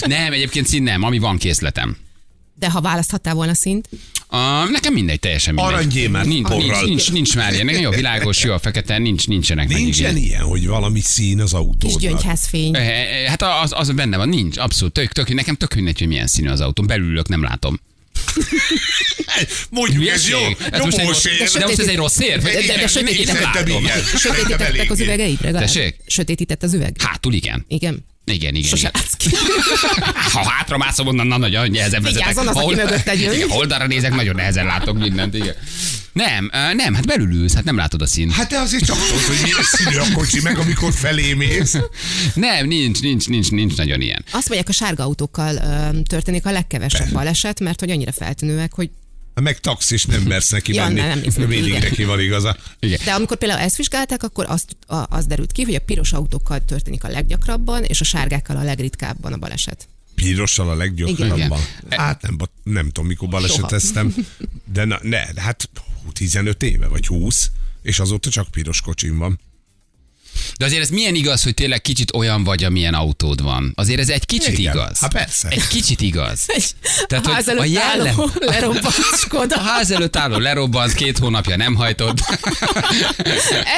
[SPEAKER 2] Nem, egyébként szín nem, ami van készletem.
[SPEAKER 4] De ha választhattál volna szint,
[SPEAKER 2] Uh, nekem mindegy, teljesen mindegy.
[SPEAKER 3] Aranygyémánt
[SPEAKER 2] nincs, nincs,
[SPEAKER 3] porral.
[SPEAKER 2] nincs, nincs már ilyen. Jó, világos, jó, a fekete, nincs, nincsenek meg
[SPEAKER 3] Nincsen
[SPEAKER 2] igény.
[SPEAKER 3] ilyen, hogy valami szín az
[SPEAKER 4] kis
[SPEAKER 3] autódnak.
[SPEAKER 4] gyöngyházfény.
[SPEAKER 2] Eh, eh, Hát az, az benne van, nincs, abszolút, tök, tök, nekem tök mindegy, hogy milyen színű az autó, belülök, nem látom.
[SPEAKER 3] Mondjuk ez jó,
[SPEAKER 2] Hülyeség? Ez most egy rossz,
[SPEAKER 3] nyomós
[SPEAKER 2] de most ez egy rossz ér?
[SPEAKER 4] De- de- de sötétített.
[SPEAKER 2] nem látom.
[SPEAKER 4] Sötétítettek az üvegeid legalább?
[SPEAKER 2] Tessék?
[SPEAKER 4] Sötétített az üveg?
[SPEAKER 2] Hátul Hát, igen.
[SPEAKER 4] Igen.
[SPEAKER 2] Igen, igen,
[SPEAKER 4] Sose
[SPEAKER 2] igen.
[SPEAKER 4] látsz ki.
[SPEAKER 2] Ha hátra mászom, onnan na, nagyon nehezen vezetek.
[SPEAKER 4] Vigyázzon az,
[SPEAKER 2] Ha
[SPEAKER 4] aki
[SPEAKER 2] oldal-
[SPEAKER 4] mögötted jön.
[SPEAKER 2] Igen, ha oldalra nézek, nagyon nehezen látok mindent, igen. Nem, eh, nem, hát belül ülsz, hát nem látod a színt.
[SPEAKER 3] Hát de azért csak tudod, hogy milyen színű a kocsi, meg amikor felé mész.
[SPEAKER 2] Nem, nincs, nincs, nincs, nincs nagyon ilyen.
[SPEAKER 4] Azt mondják, a sárga autókkal ö, történik a legkevesebb baleset, mert hogy annyira feltűnőek, hogy...
[SPEAKER 3] Meg taxis nem mersz neki
[SPEAKER 4] Ja,
[SPEAKER 3] menni.
[SPEAKER 4] nem, nem hiszem,
[SPEAKER 3] Mindig
[SPEAKER 4] igen.
[SPEAKER 3] neki van igaza.
[SPEAKER 2] Igen.
[SPEAKER 4] De amikor például ezt vizsgálták, akkor azt, a, az derült ki, hogy a piros autókkal történik a leggyakrabban, és a sárgákkal a legritkábban a baleset.
[SPEAKER 3] Pirossal a
[SPEAKER 2] Igen.
[SPEAKER 3] leggyorsabban. Hát nem, ba- nem tudom, mikor baleseteztem, de na, ne, de hát hú, 15 éve vagy 20, és azóta csak piros kocsim van.
[SPEAKER 2] De azért ez milyen igaz, hogy tényleg kicsit olyan vagy, amilyen autód van. Azért ez egy kicsit
[SPEAKER 3] Igen.
[SPEAKER 2] igaz.
[SPEAKER 3] Hát persze.
[SPEAKER 2] Egy kicsit igaz. Tehát,
[SPEAKER 4] a
[SPEAKER 2] hogy
[SPEAKER 4] ház
[SPEAKER 2] a
[SPEAKER 4] előtt
[SPEAKER 2] jellem-
[SPEAKER 4] álló lerobbant
[SPEAKER 2] A
[SPEAKER 4] Skoda.
[SPEAKER 2] ház előtt álló lerobbant, két hónapja nem hajtott.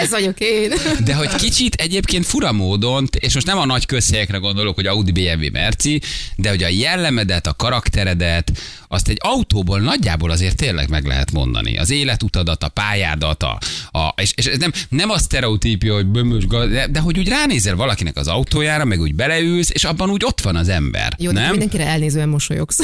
[SPEAKER 4] Ez vagyok én.
[SPEAKER 2] De hogy kicsit egyébként fura módon, és most nem a nagy közhelyekre gondolok, hogy Audi, BMW, Merci, de hogy a jellemedet, a karakteredet, azt egy autóból nagyjából azért tényleg meg lehet mondani. Az életutadat, a pályádat, a, a és, és ez nem, nem a sztereotípia, hogy bömös, gaz- de, de hogy úgy ránézel valakinek az autójára, meg úgy beleülsz, és abban úgy ott van az ember.
[SPEAKER 4] Jó, de
[SPEAKER 2] nem?
[SPEAKER 4] te mindenkire elnézően szóval. mosolyogsz.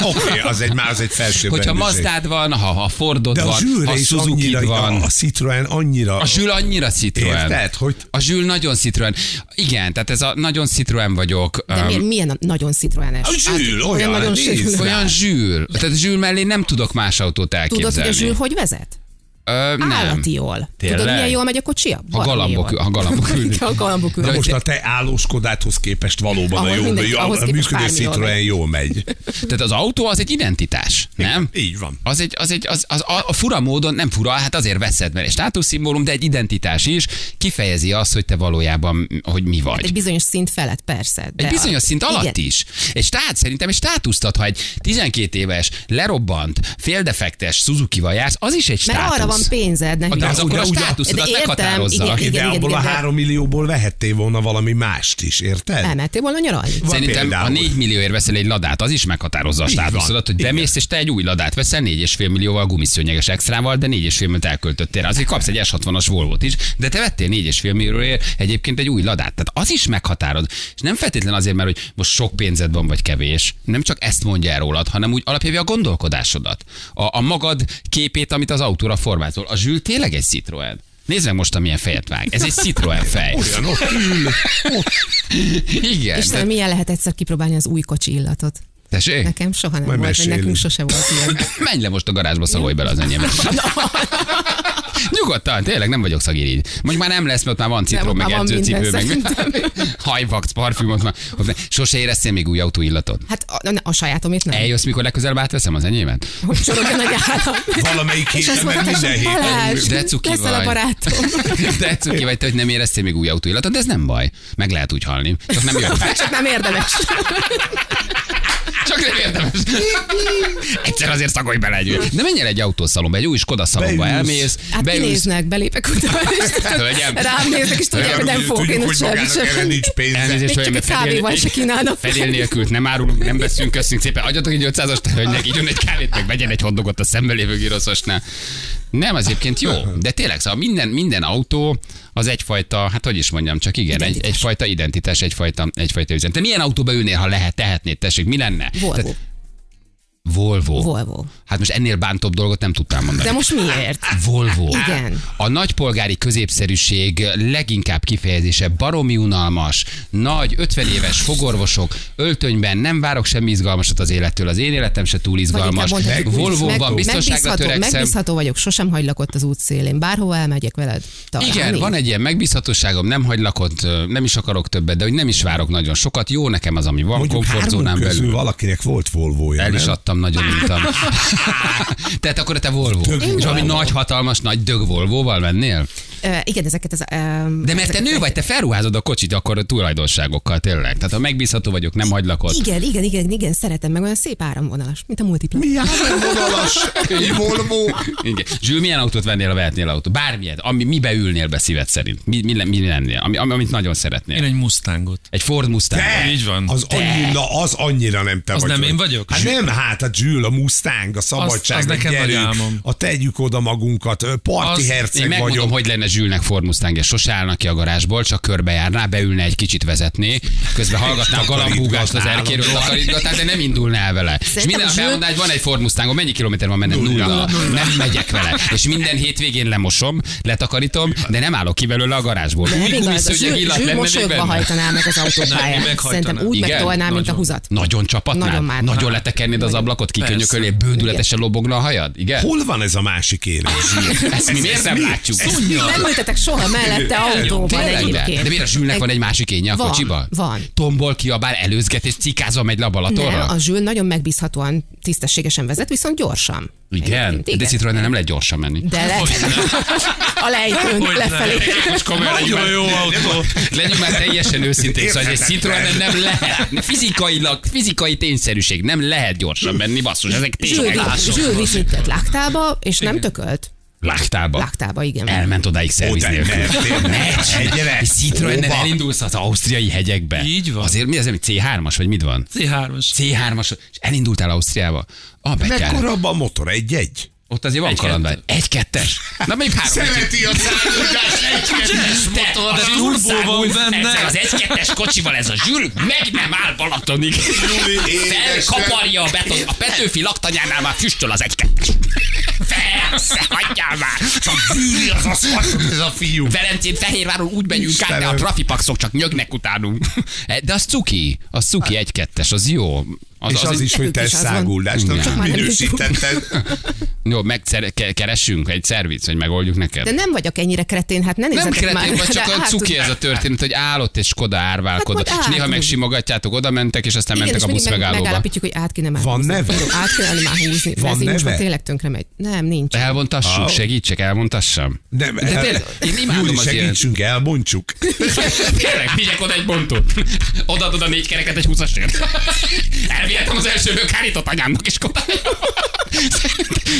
[SPEAKER 3] Oké, okay, az egy, már az egy felső
[SPEAKER 2] Hogyha
[SPEAKER 3] rendezés.
[SPEAKER 2] Mazdád van, ha, ha Fordod
[SPEAKER 3] De a
[SPEAKER 2] van,
[SPEAKER 3] zsűre
[SPEAKER 2] ha
[SPEAKER 3] is
[SPEAKER 2] suzuki
[SPEAKER 3] annyira,
[SPEAKER 2] van.
[SPEAKER 3] a, a Citroen annyira...
[SPEAKER 2] A Zsül annyira Citroen.
[SPEAKER 3] Érted, hogy-
[SPEAKER 2] A Zsül nagyon Citroen. Igen, tehát ez a nagyon Citroen vagyok.
[SPEAKER 4] De
[SPEAKER 2] Öm,
[SPEAKER 4] miért, milyen a nagyon citroenes? Hát,
[SPEAKER 3] A Zsül, olyan,
[SPEAKER 4] nagyon
[SPEAKER 3] nézd.
[SPEAKER 4] sűrű.
[SPEAKER 2] Olyan Zsül. Tehát Zsül mellé nem tudok más autót
[SPEAKER 4] Tudod, hogy
[SPEAKER 2] elképzelni.
[SPEAKER 4] a zsűr hogy vezet?
[SPEAKER 2] Ö, nem.
[SPEAKER 4] Állati jól. Tudod,
[SPEAKER 2] Tényleg?
[SPEAKER 4] milyen jól megy a kocsia?
[SPEAKER 2] Ha galambok, ha galambok ülnek.
[SPEAKER 4] Ha galambok
[SPEAKER 3] Na
[SPEAKER 4] ülnek.
[SPEAKER 3] most a te állóskodáthoz képest valóban a
[SPEAKER 4] Ahhoz
[SPEAKER 3] jó,
[SPEAKER 4] mindegy,
[SPEAKER 3] a,
[SPEAKER 4] ahhoz
[SPEAKER 3] a
[SPEAKER 4] képest
[SPEAKER 3] működő
[SPEAKER 4] bármi jól
[SPEAKER 3] Citroen
[SPEAKER 4] megy.
[SPEAKER 3] jól megy.
[SPEAKER 2] Tehát az autó az egy identitás, nem?
[SPEAKER 3] Így van.
[SPEAKER 2] Az egy, az egy, az, az a, a fura módon, nem fura, hát azért veszed, mert egy státuszszimbólum, de egy identitás is kifejezi azt, hogy te valójában, hogy mi vagy.
[SPEAKER 4] Egy bizonyos szint felett, persze. De
[SPEAKER 2] Egy bizonyos szint alatt
[SPEAKER 4] Hát igen.
[SPEAKER 2] is. Egy stát, szerintem egy státuszt ad, ha egy 12 éves, lerobbant, féldefektes Suzuki-val jársz, az is egy
[SPEAKER 4] Mert
[SPEAKER 2] státusz.
[SPEAKER 4] arra van pénzed, nem
[SPEAKER 2] De az
[SPEAKER 4] hiába.
[SPEAKER 2] akkor a
[SPEAKER 3] Ugyan- ugyan-
[SPEAKER 2] státuszodat
[SPEAKER 4] De értem,
[SPEAKER 2] meghatározza.
[SPEAKER 4] igen,
[SPEAKER 3] Oké, de
[SPEAKER 4] igen,
[SPEAKER 3] abból a
[SPEAKER 4] de-
[SPEAKER 3] három millióból vehettél volna valami mást is, érted?
[SPEAKER 4] Elmentél volna nyaralni.
[SPEAKER 3] Van
[SPEAKER 2] Szerintem
[SPEAKER 3] például.
[SPEAKER 2] a 4 millióért veszel egy ladát, az is meghatározza a
[SPEAKER 3] Így van.
[SPEAKER 2] státuszodat, hogy
[SPEAKER 3] Igen.
[SPEAKER 2] bemész, és te egy új ladát veszel 4,5 millióval gumiszőnyeges extrával, de 4,5 milliót elköltöttél. rá. Azért kapsz egy S60-as Volvo-t is, de te vettél 4,5 millióért egyébként egy új ladát. Tehát az is meghatároz. És nem feltétlen azért, mert hogy most sok pénzed van, vagy kevés. Nem csak ezt mondja el rólad, hanem úgy alapjában a gondolkodásodat. A, a magad képét, amit az autóra formázol. A zsűl tényleg egy Citroen. Nézd meg most, amilyen fejet vág. Ez egy Citroen fej.
[SPEAKER 3] Olyan ott ül.
[SPEAKER 2] Igen.
[SPEAKER 4] Istenem, milyen lehet egyszer kipróbálni az új kocsi illatot?
[SPEAKER 2] Tessék?
[SPEAKER 4] Nekem soha nem
[SPEAKER 3] Majd
[SPEAKER 4] volt, vagy
[SPEAKER 3] mesélünk.
[SPEAKER 4] nekünk sose volt ilyen.
[SPEAKER 2] Menj le most a garázsba, szagolj bele az enyémbe. Nyugodtan, tényleg nem vagyok szagirigy. Mondjuk már nem lesz, mert már van citrom,
[SPEAKER 4] Nem,
[SPEAKER 2] meg
[SPEAKER 4] már van
[SPEAKER 2] edzőcipő,
[SPEAKER 4] minden
[SPEAKER 2] meg hajvax, parfümot már. Sose éreztél még új autóillatot.
[SPEAKER 4] Hát a, a, a sajátomért nem.
[SPEAKER 2] Eljössz, mikor legközelebb átveszem az enyémet?
[SPEAKER 4] Hogy sorog a nagy állam.
[SPEAKER 3] Valamelyik
[SPEAKER 4] És azt
[SPEAKER 3] héten, mert minden
[SPEAKER 4] mondták, hogy
[SPEAKER 3] héten.
[SPEAKER 4] Hát, Balázs,
[SPEAKER 2] De cuki
[SPEAKER 4] leszel
[SPEAKER 2] vagy.
[SPEAKER 4] a barátom.
[SPEAKER 2] De cuki vagy te, hogy nem éreztél még új autóillatot, de ez nem baj. Meg lehet úgy halni. Csak nem jó.
[SPEAKER 4] Csak nem érdemes.
[SPEAKER 2] Csak nem érdemes. Egyszer azért szagolj bele egy De menj el egy autószalomba, egy új Skoda szalomba,
[SPEAKER 3] Beülsz.
[SPEAKER 2] elmész,
[SPEAKER 4] Hát
[SPEAKER 2] beülsz.
[SPEAKER 4] kinéznek, belépek után, és
[SPEAKER 2] Hölgyem.
[SPEAKER 4] rám néznek, és tudják, hogy nem fogok én
[SPEAKER 3] Tudjuk,
[SPEAKER 4] ott
[SPEAKER 3] hogy
[SPEAKER 4] semmit
[SPEAKER 3] magának
[SPEAKER 4] sem.
[SPEAKER 3] erre nincs pénze.
[SPEAKER 2] Elnézést,
[SPEAKER 4] Még csak
[SPEAKER 2] hölgyem,
[SPEAKER 4] egy
[SPEAKER 2] de fedél-
[SPEAKER 4] kávéval se kínálnak.
[SPEAKER 2] Fedél nélkül nem árulunk, nem veszünk, köszönjük szépen. Adjatok egy 500-as hölgynek, így egy kávét, meg vegyen egy hoddogot a szemben lévő gyroszosnál. Nem, az egyébként jó, de tényleg, szóval minden, minden autó az egyfajta, hát hogy is mondjam, csak igen, egy, egyfajta identitás, egyfajta, egyfajta üzen. Te milyen autóba ülnél, ha lehet, tehetnéd, tessék, mi lenne?
[SPEAKER 4] Volvo,
[SPEAKER 2] Tehát, Volvo.
[SPEAKER 4] Volvo.
[SPEAKER 2] Hát most ennél bántóbb dolgot nem tudtam mondani.
[SPEAKER 4] De most miért?
[SPEAKER 2] Volvo.
[SPEAKER 4] Igen.
[SPEAKER 2] A nagypolgári középszerűség leginkább kifejezése baromi unalmas, nagy, 50 éves fogorvosok, öltönyben nem várok semmi izgalmasat az élettől, az én életem se túl izgalmas.
[SPEAKER 4] Vagy inkább mondhatjuk,
[SPEAKER 2] Volvóban biztonságra
[SPEAKER 4] megbízható,
[SPEAKER 2] törekszem.
[SPEAKER 4] megbízható vagyok, sosem hagylak ott az út szélén. Bárhova elmegyek veled találni.
[SPEAKER 2] Igen, van egy ilyen megbízhatóságom, nem hagylak ott, ö, nem is akarok többet, de hogy nem is várok nagyon sokat. Jó nekem az, ami van,
[SPEAKER 3] Mondjuk hármunk
[SPEAKER 2] komfortzónám
[SPEAKER 3] közül
[SPEAKER 2] belül.
[SPEAKER 3] valakinek volt volvója,
[SPEAKER 2] El
[SPEAKER 3] nem?
[SPEAKER 2] is adtam, nagyon untam. Tehát akkor te Volvo. És valami nagy, hatalmas, nagy dög Volvóval mennél?
[SPEAKER 4] Ö, igen, ezeket az... Um,
[SPEAKER 2] De mert te nő vagy, te felruházod a kocsit akkor a tulajdonságokkal, tényleg. Tehát ha megbízható vagyok, nem hagylak ott.
[SPEAKER 4] Igen, igen, igen, igen, szeretem meg olyan szép áramvonalas, mint a multiplan.
[SPEAKER 3] Mi áramvonalas? Egy Volvo?
[SPEAKER 2] Igen. Zsül, milyen autót vennél, ha vehetnél autót? Bármilyen, ami mibe ülnél be szíved szerint? Mi, mi, le- mi lennél? Ami, ami, amit nagyon
[SPEAKER 5] Én
[SPEAKER 2] szeretnél.
[SPEAKER 5] egy Mustangot.
[SPEAKER 2] Egy Ford Mustang.
[SPEAKER 3] Te!
[SPEAKER 5] Így van.
[SPEAKER 3] Az,
[SPEAKER 5] Te!
[SPEAKER 3] annyi, na, az annyira nem te
[SPEAKER 5] Az
[SPEAKER 3] vagy.
[SPEAKER 5] nem én vagyok?
[SPEAKER 3] Hát
[SPEAKER 5] Zsül-
[SPEAKER 3] nem, hát a Jules, a Mustang, a szabadság,
[SPEAKER 5] az nekem
[SPEAKER 3] gyerünk,
[SPEAKER 5] nagy álmom.
[SPEAKER 3] a tegyük oda magunkat, ö, parti
[SPEAKER 5] Az-
[SPEAKER 2] Én
[SPEAKER 3] herceg
[SPEAKER 2] megmondom,
[SPEAKER 3] vagyok.
[SPEAKER 2] hogy lenne Zsülnek Ford Mustang, és sose állna ki a garázsból, csak körbejárná, beülne egy kicsit vezetné, közben hallgatná a galambúgást az erkéről, takarítgatná, de nem indulná el vele. és minden
[SPEAKER 4] a
[SPEAKER 2] nap
[SPEAKER 4] Zsül-
[SPEAKER 2] elmondaná, hogy van egy Ford Mustangom, mennyi kilométer van menne? Nulla. Nem megyek vele. És minden hétvégén lemosom, letakarítom, de nem állok ki belőle a garázsból. Úgy
[SPEAKER 4] Mindig az,
[SPEAKER 2] gumisző,
[SPEAKER 4] a
[SPEAKER 2] hogy egy illat
[SPEAKER 4] zsűr, zsűr
[SPEAKER 2] lenne még
[SPEAKER 4] mosolyogva
[SPEAKER 2] benne.
[SPEAKER 4] hajtaná meg az
[SPEAKER 5] Na,
[SPEAKER 4] autópályán.
[SPEAKER 5] meghajtaná.
[SPEAKER 4] Szerintem úgy
[SPEAKER 2] Igen,
[SPEAKER 4] megtolná, mint a
[SPEAKER 5] nagyon.
[SPEAKER 4] huzat.
[SPEAKER 2] Nagyon csapatnál?
[SPEAKER 4] Nagyon
[SPEAKER 2] Nagyon,
[SPEAKER 4] már.
[SPEAKER 2] Nagyon letekernéd az ablakot, kikönyökölél, bődületesen lobogna a hajad? Igen?
[SPEAKER 3] Hol van ez a másik élés?
[SPEAKER 2] Ezt mi miért nem
[SPEAKER 3] mi?
[SPEAKER 2] látjuk?
[SPEAKER 4] Nem ültetek soha mellette autóban
[SPEAKER 2] Tényleg, de,
[SPEAKER 4] egyébként.
[SPEAKER 2] de miért a Zsülnek van egy másik énje a
[SPEAKER 4] Van,
[SPEAKER 2] kocsiba?
[SPEAKER 4] van.
[SPEAKER 2] Tombol, kiabál, előzget és cikázva megy le a Balatonra?
[SPEAKER 4] Nem, a Zsül nagyon megbízhatóan, tisztességesen vezet, viszont gyorsan.
[SPEAKER 2] Igen?
[SPEAKER 4] Egyébként,
[SPEAKER 2] De Citroen nem lehet gyorsan menni.
[SPEAKER 4] De le... a lejtőn
[SPEAKER 5] Hogy ne?
[SPEAKER 4] lefelé.
[SPEAKER 2] Most komolyan legyünk
[SPEAKER 5] Nagyon
[SPEAKER 2] már-
[SPEAKER 5] jó autó.
[SPEAKER 2] Legyünk már teljesen őszinték, szóval hogy egy
[SPEAKER 3] Érthetetlen.
[SPEAKER 2] Citroen nem lehet. Fizikailag, fizikai tényszerűség, nem lehet gyorsan menni, basszus, ezek
[SPEAKER 4] Zsül,
[SPEAKER 2] tényleg
[SPEAKER 4] vitt- Zsül vitt minket láktába, és nem tökölt.
[SPEAKER 2] Láktába.
[SPEAKER 4] Láktába, igen.
[SPEAKER 2] Elment odáig szerviz
[SPEAKER 3] Oda
[SPEAKER 2] nélkül.
[SPEAKER 3] ment, tényleg. Egyre.
[SPEAKER 2] Egy Citroennel
[SPEAKER 3] Hova?
[SPEAKER 2] elindulsz az ausztriai hegyekbe.
[SPEAKER 5] Így van.
[SPEAKER 2] Azért mi az, ami C3-as, vagy mit van?
[SPEAKER 5] C3-as.
[SPEAKER 2] C3-as, és elindultál Ausztriába. A betyár.
[SPEAKER 3] Mekkora a motor? Egy-egy?
[SPEAKER 2] Ott azért van
[SPEAKER 5] Egy
[SPEAKER 2] kalandvágy. Egy kettes. Na mondjuk három. Hát,
[SPEAKER 3] a szállítást
[SPEAKER 5] Zsíres motor,
[SPEAKER 2] az
[SPEAKER 5] de
[SPEAKER 2] turbó
[SPEAKER 5] turbó van benne.
[SPEAKER 2] Ezzel az egy kettes kocsival ez a zsűr meg nem áll Balatonig.
[SPEAKER 3] Júli, édes
[SPEAKER 2] Felkaparja a beton. A Petőfi laktanyánál már füstöl az egy kettes. Persze, hagyjál már.
[SPEAKER 3] Csak bűri az aszfaltot ez a fiú.
[SPEAKER 2] Velencén Fehérváron úgy megyünk át, de a
[SPEAKER 3] Istenem.
[SPEAKER 2] trafipaxok csak nyögnek utánunk. De az cuki, az cuki egy kettes, az jó. Az,
[SPEAKER 3] És az
[SPEAKER 2] egy-
[SPEAKER 3] is, hogy te
[SPEAKER 4] Nekünk is az van.
[SPEAKER 3] száguldást, nem
[SPEAKER 2] Igen.
[SPEAKER 3] csak
[SPEAKER 4] Már nem
[SPEAKER 3] minősítetted.
[SPEAKER 2] Jó, megkeressünk egy szerviz, hogy megoldjuk neked.
[SPEAKER 4] De nem vagyok ennyire kretén, hát ne
[SPEAKER 2] Nem
[SPEAKER 4] nézzetek már.
[SPEAKER 2] kretén, vagy csak
[SPEAKER 4] De
[SPEAKER 2] a
[SPEAKER 4] hát,
[SPEAKER 2] cuki ez a történet, hogy állott és Skoda árválkodott.
[SPEAKER 4] Hát majd
[SPEAKER 2] és néha
[SPEAKER 4] álltunk.
[SPEAKER 2] megsimogatjátok, oda mentek, és aztán
[SPEAKER 4] Igen,
[SPEAKER 2] mentek
[SPEAKER 4] és
[SPEAKER 2] a
[SPEAKER 4] mindig
[SPEAKER 2] busz
[SPEAKER 4] meg-
[SPEAKER 2] megállóba.
[SPEAKER 4] Megállapítjuk, hogy át kéne már
[SPEAKER 3] Van
[SPEAKER 4] húzni.
[SPEAKER 3] neve?
[SPEAKER 4] Át kéne már húzni.
[SPEAKER 3] Van
[SPEAKER 4] Van neve?
[SPEAKER 3] neve?
[SPEAKER 4] tényleg tönkre megy. Nem, nincs.
[SPEAKER 2] Elvontassuk, segítsek, elmondtassam.
[SPEAKER 3] Nem,
[SPEAKER 2] De tényleg, én imádom
[SPEAKER 3] Júli,
[SPEAKER 2] az ilyen-
[SPEAKER 3] segítsünk, elmondjuk.
[SPEAKER 2] Tényleg, vigyek oda egy bontót. Odaadod a négy kereket egy húszasért. Elvihetem az első bőkárított anyámnak is Skoda.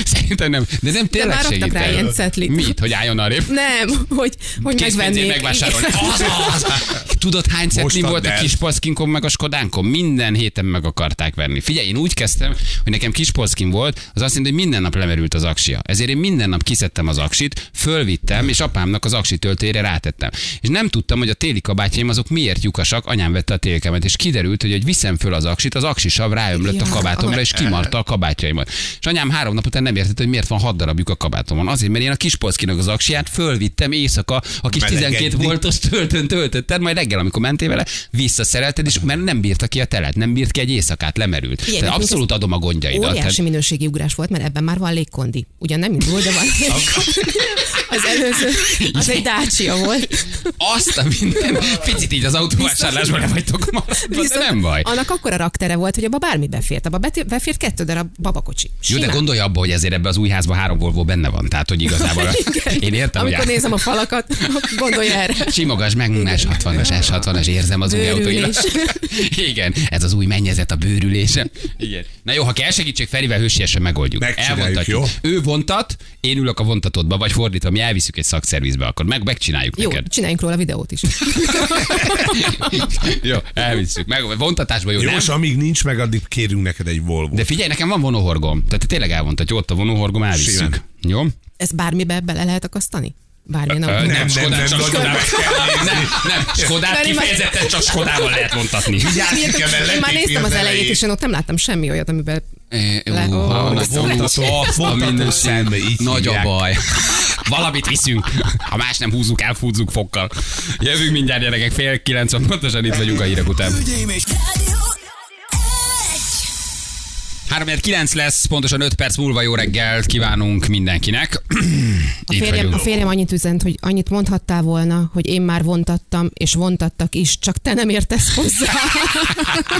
[SPEAKER 2] Szerintem nem. De nem tényleg
[SPEAKER 4] már raktak
[SPEAKER 2] segít.
[SPEAKER 4] rá ilyen cetlit.
[SPEAKER 2] Mit? Hogy álljon arrébb?
[SPEAKER 4] Nem, hogy, hogy
[SPEAKER 2] Készpénzért
[SPEAKER 4] megvennék.
[SPEAKER 2] megvásárolni.
[SPEAKER 4] Igen.
[SPEAKER 2] Az, az. Tudod, hány centim
[SPEAKER 3] Most
[SPEAKER 2] volt
[SPEAKER 3] add
[SPEAKER 2] a
[SPEAKER 3] el.
[SPEAKER 2] kis paszkinkom meg a Skodánkom? Minden héten meg akarták venni. Figyelj, én úgy kezdtem, hogy nekem kis paszkin volt, az azt jelenti, hogy minden nap lemerült az aksia. Ezért én minden nap kiszedtem az aksit, fölvittem, és apámnak az aksi töltőjére rátettem. És nem tudtam, hogy a téli kabátjaim azok miért lyukasak, anyám vette a télkemet, és kiderült, hogy hogy viszem föl az aksit, az aksisav ráömlött a
[SPEAKER 4] Ja.
[SPEAKER 2] kabátomra, és kimarta a kabátjaimat. És anyám három nap után nem értette, hogy miért van hat darab lyuk a kabátomon. Azért, mert én a kis paszkinak az aksiát fölvittem éjszaka a kis
[SPEAKER 3] Melegedni.
[SPEAKER 2] 12 voltos töltön töltötted, majd reggel, amikor mentél vele, visszaszerelted, és mert nem bírta ki a telet, nem bírt ki egy éjszakát, lemerült.
[SPEAKER 4] Igen,
[SPEAKER 2] Te
[SPEAKER 4] nekünk
[SPEAKER 2] abszolút
[SPEAKER 4] ez
[SPEAKER 2] adom a gondjaidat.
[SPEAKER 4] Óriási
[SPEAKER 2] Tehát-
[SPEAKER 4] minőségi ugrás volt, mert ebben már van légkondi. Ugyan nem indul, de van légkondi. Az előző, az egy Dacia volt.
[SPEAKER 2] Azt a minden, picit így az autóvásárlásban le vagytok maradva, de
[SPEAKER 4] Viszont
[SPEAKER 2] nem baj.
[SPEAKER 4] Annak akkora raktere volt, hogy abba bármi befért. Abba beti- befért kettő darab babakocsi.
[SPEAKER 2] Jó, de
[SPEAKER 4] Simán.
[SPEAKER 2] gondolj abba, hogy ezért ebbe az új házba három Volvo benne van. Tehát, hogy igazából
[SPEAKER 4] Igen.
[SPEAKER 2] én értem,
[SPEAKER 4] Amikor
[SPEAKER 2] hogy
[SPEAKER 4] nézem a falakat, gondolj erre.
[SPEAKER 2] Simogass meg, más 60-as 50-es, 60-as, érzem az új autóira. Igen, ez az új mennyezet a bőrülése. Igen. Na jó, ha kell segítség, Ferivel hősiesen megoldjuk.
[SPEAKER 3] Megcsináljuk,
[SPEAKER 2] Elvontatjuk.
[SPEAKER 3] jó?
[SPEAKER 2] Ő vontat, én ülök a vontatódba, vagy fordítva, mi elviszük egy szakszervizbe, akkor meg, megcsináljuk
[SPEAKER 4] Jó,
[SPEAKER 2] neked.
[SPEAKER 4] csináljunk róla videót is.
[SPEAKER 2] jó, elviszük. Meg, vontatásba jó,
[SPEAKER 3] Jó,
[SPEAKER 2] nem?
[SPEAKER 3] és amíg nincs meg, addig kérünk neked egy Volvo.
[SPEAKER 2] De figyelj, nekem van vonóhorgom. Tehát tényleg elvontatjuk, ott a vonóhorgom, elviszük.
[SPEAKER 3] Simán.
[SPEAKER 2] Jó?
[SPEAKER 4] Ez bármibe bele lehet akasztani? Bármilyen
[SPEAKER 2] Ö,
[SPEAKER 4] autó.
[SPEAKER 3] nem,
[SPEAKER 2] Skodát
[SPEAKER 3] nem,
[SPEAKER 2] csak
[SPEAKER 3] nem,
[SPEAKER 2] Skodával kell Nem, nem, Skodát
[SPEAKER 4] Mert én már-
[SPEAKER 2] kifejezetten csak Skodával lehet vontatni.
[SPEAKER 3] Vigyázz,
[SPEAKER 4] Tudjátok,
[SPEAKER 3] Ike, mert
[SPEAKER 4] Én hát, már
[SPEAKER 3] letépni
[SPEAKER 4] néztem az elejét,
[SPEAKER 3] elejét.
[SPEAKER 4] és én ott nem láttam semmi olyat, amiben
[SPEAKER 2] É,
[SPEAKER 4] Le-
[SPEAKER 2] ú,
[SPEAKER 4] ó,
[SPEAKER 2] ha
[SPEAKER 4] a
[SPEAKER 2] nagy
[SPEAKER 3] vontató-
[SPEAKER 2] hát, a
[SPEAKER 3] vontató
[SPEAKER 2] minden-
[SPEAKER 3] szembe, így
[SPEAKER 2] Nagy a
[SPEAKER 3] hívják.
[SPEAKER 2] baj. Valamit viszünk. Ha más nem húzzuk, elfúzzuk fokkal. Jövünk mindjárt, gyerekek, fél kilenc, van, pontosan itt vagyunk a hírek után.
[SPEAKER 1] Hölgyeim és
[SPEAKER 2] 3 lesz, pontosan 5 perc múlva jó reggelt kívánunk mindenkinek.
[SPEAKER 4] A férjem, a férjem annyit üzent, hogy annyit mondhattál volna, hogy én már vontattam, és vontattak is, csak te nem értesz hozzá.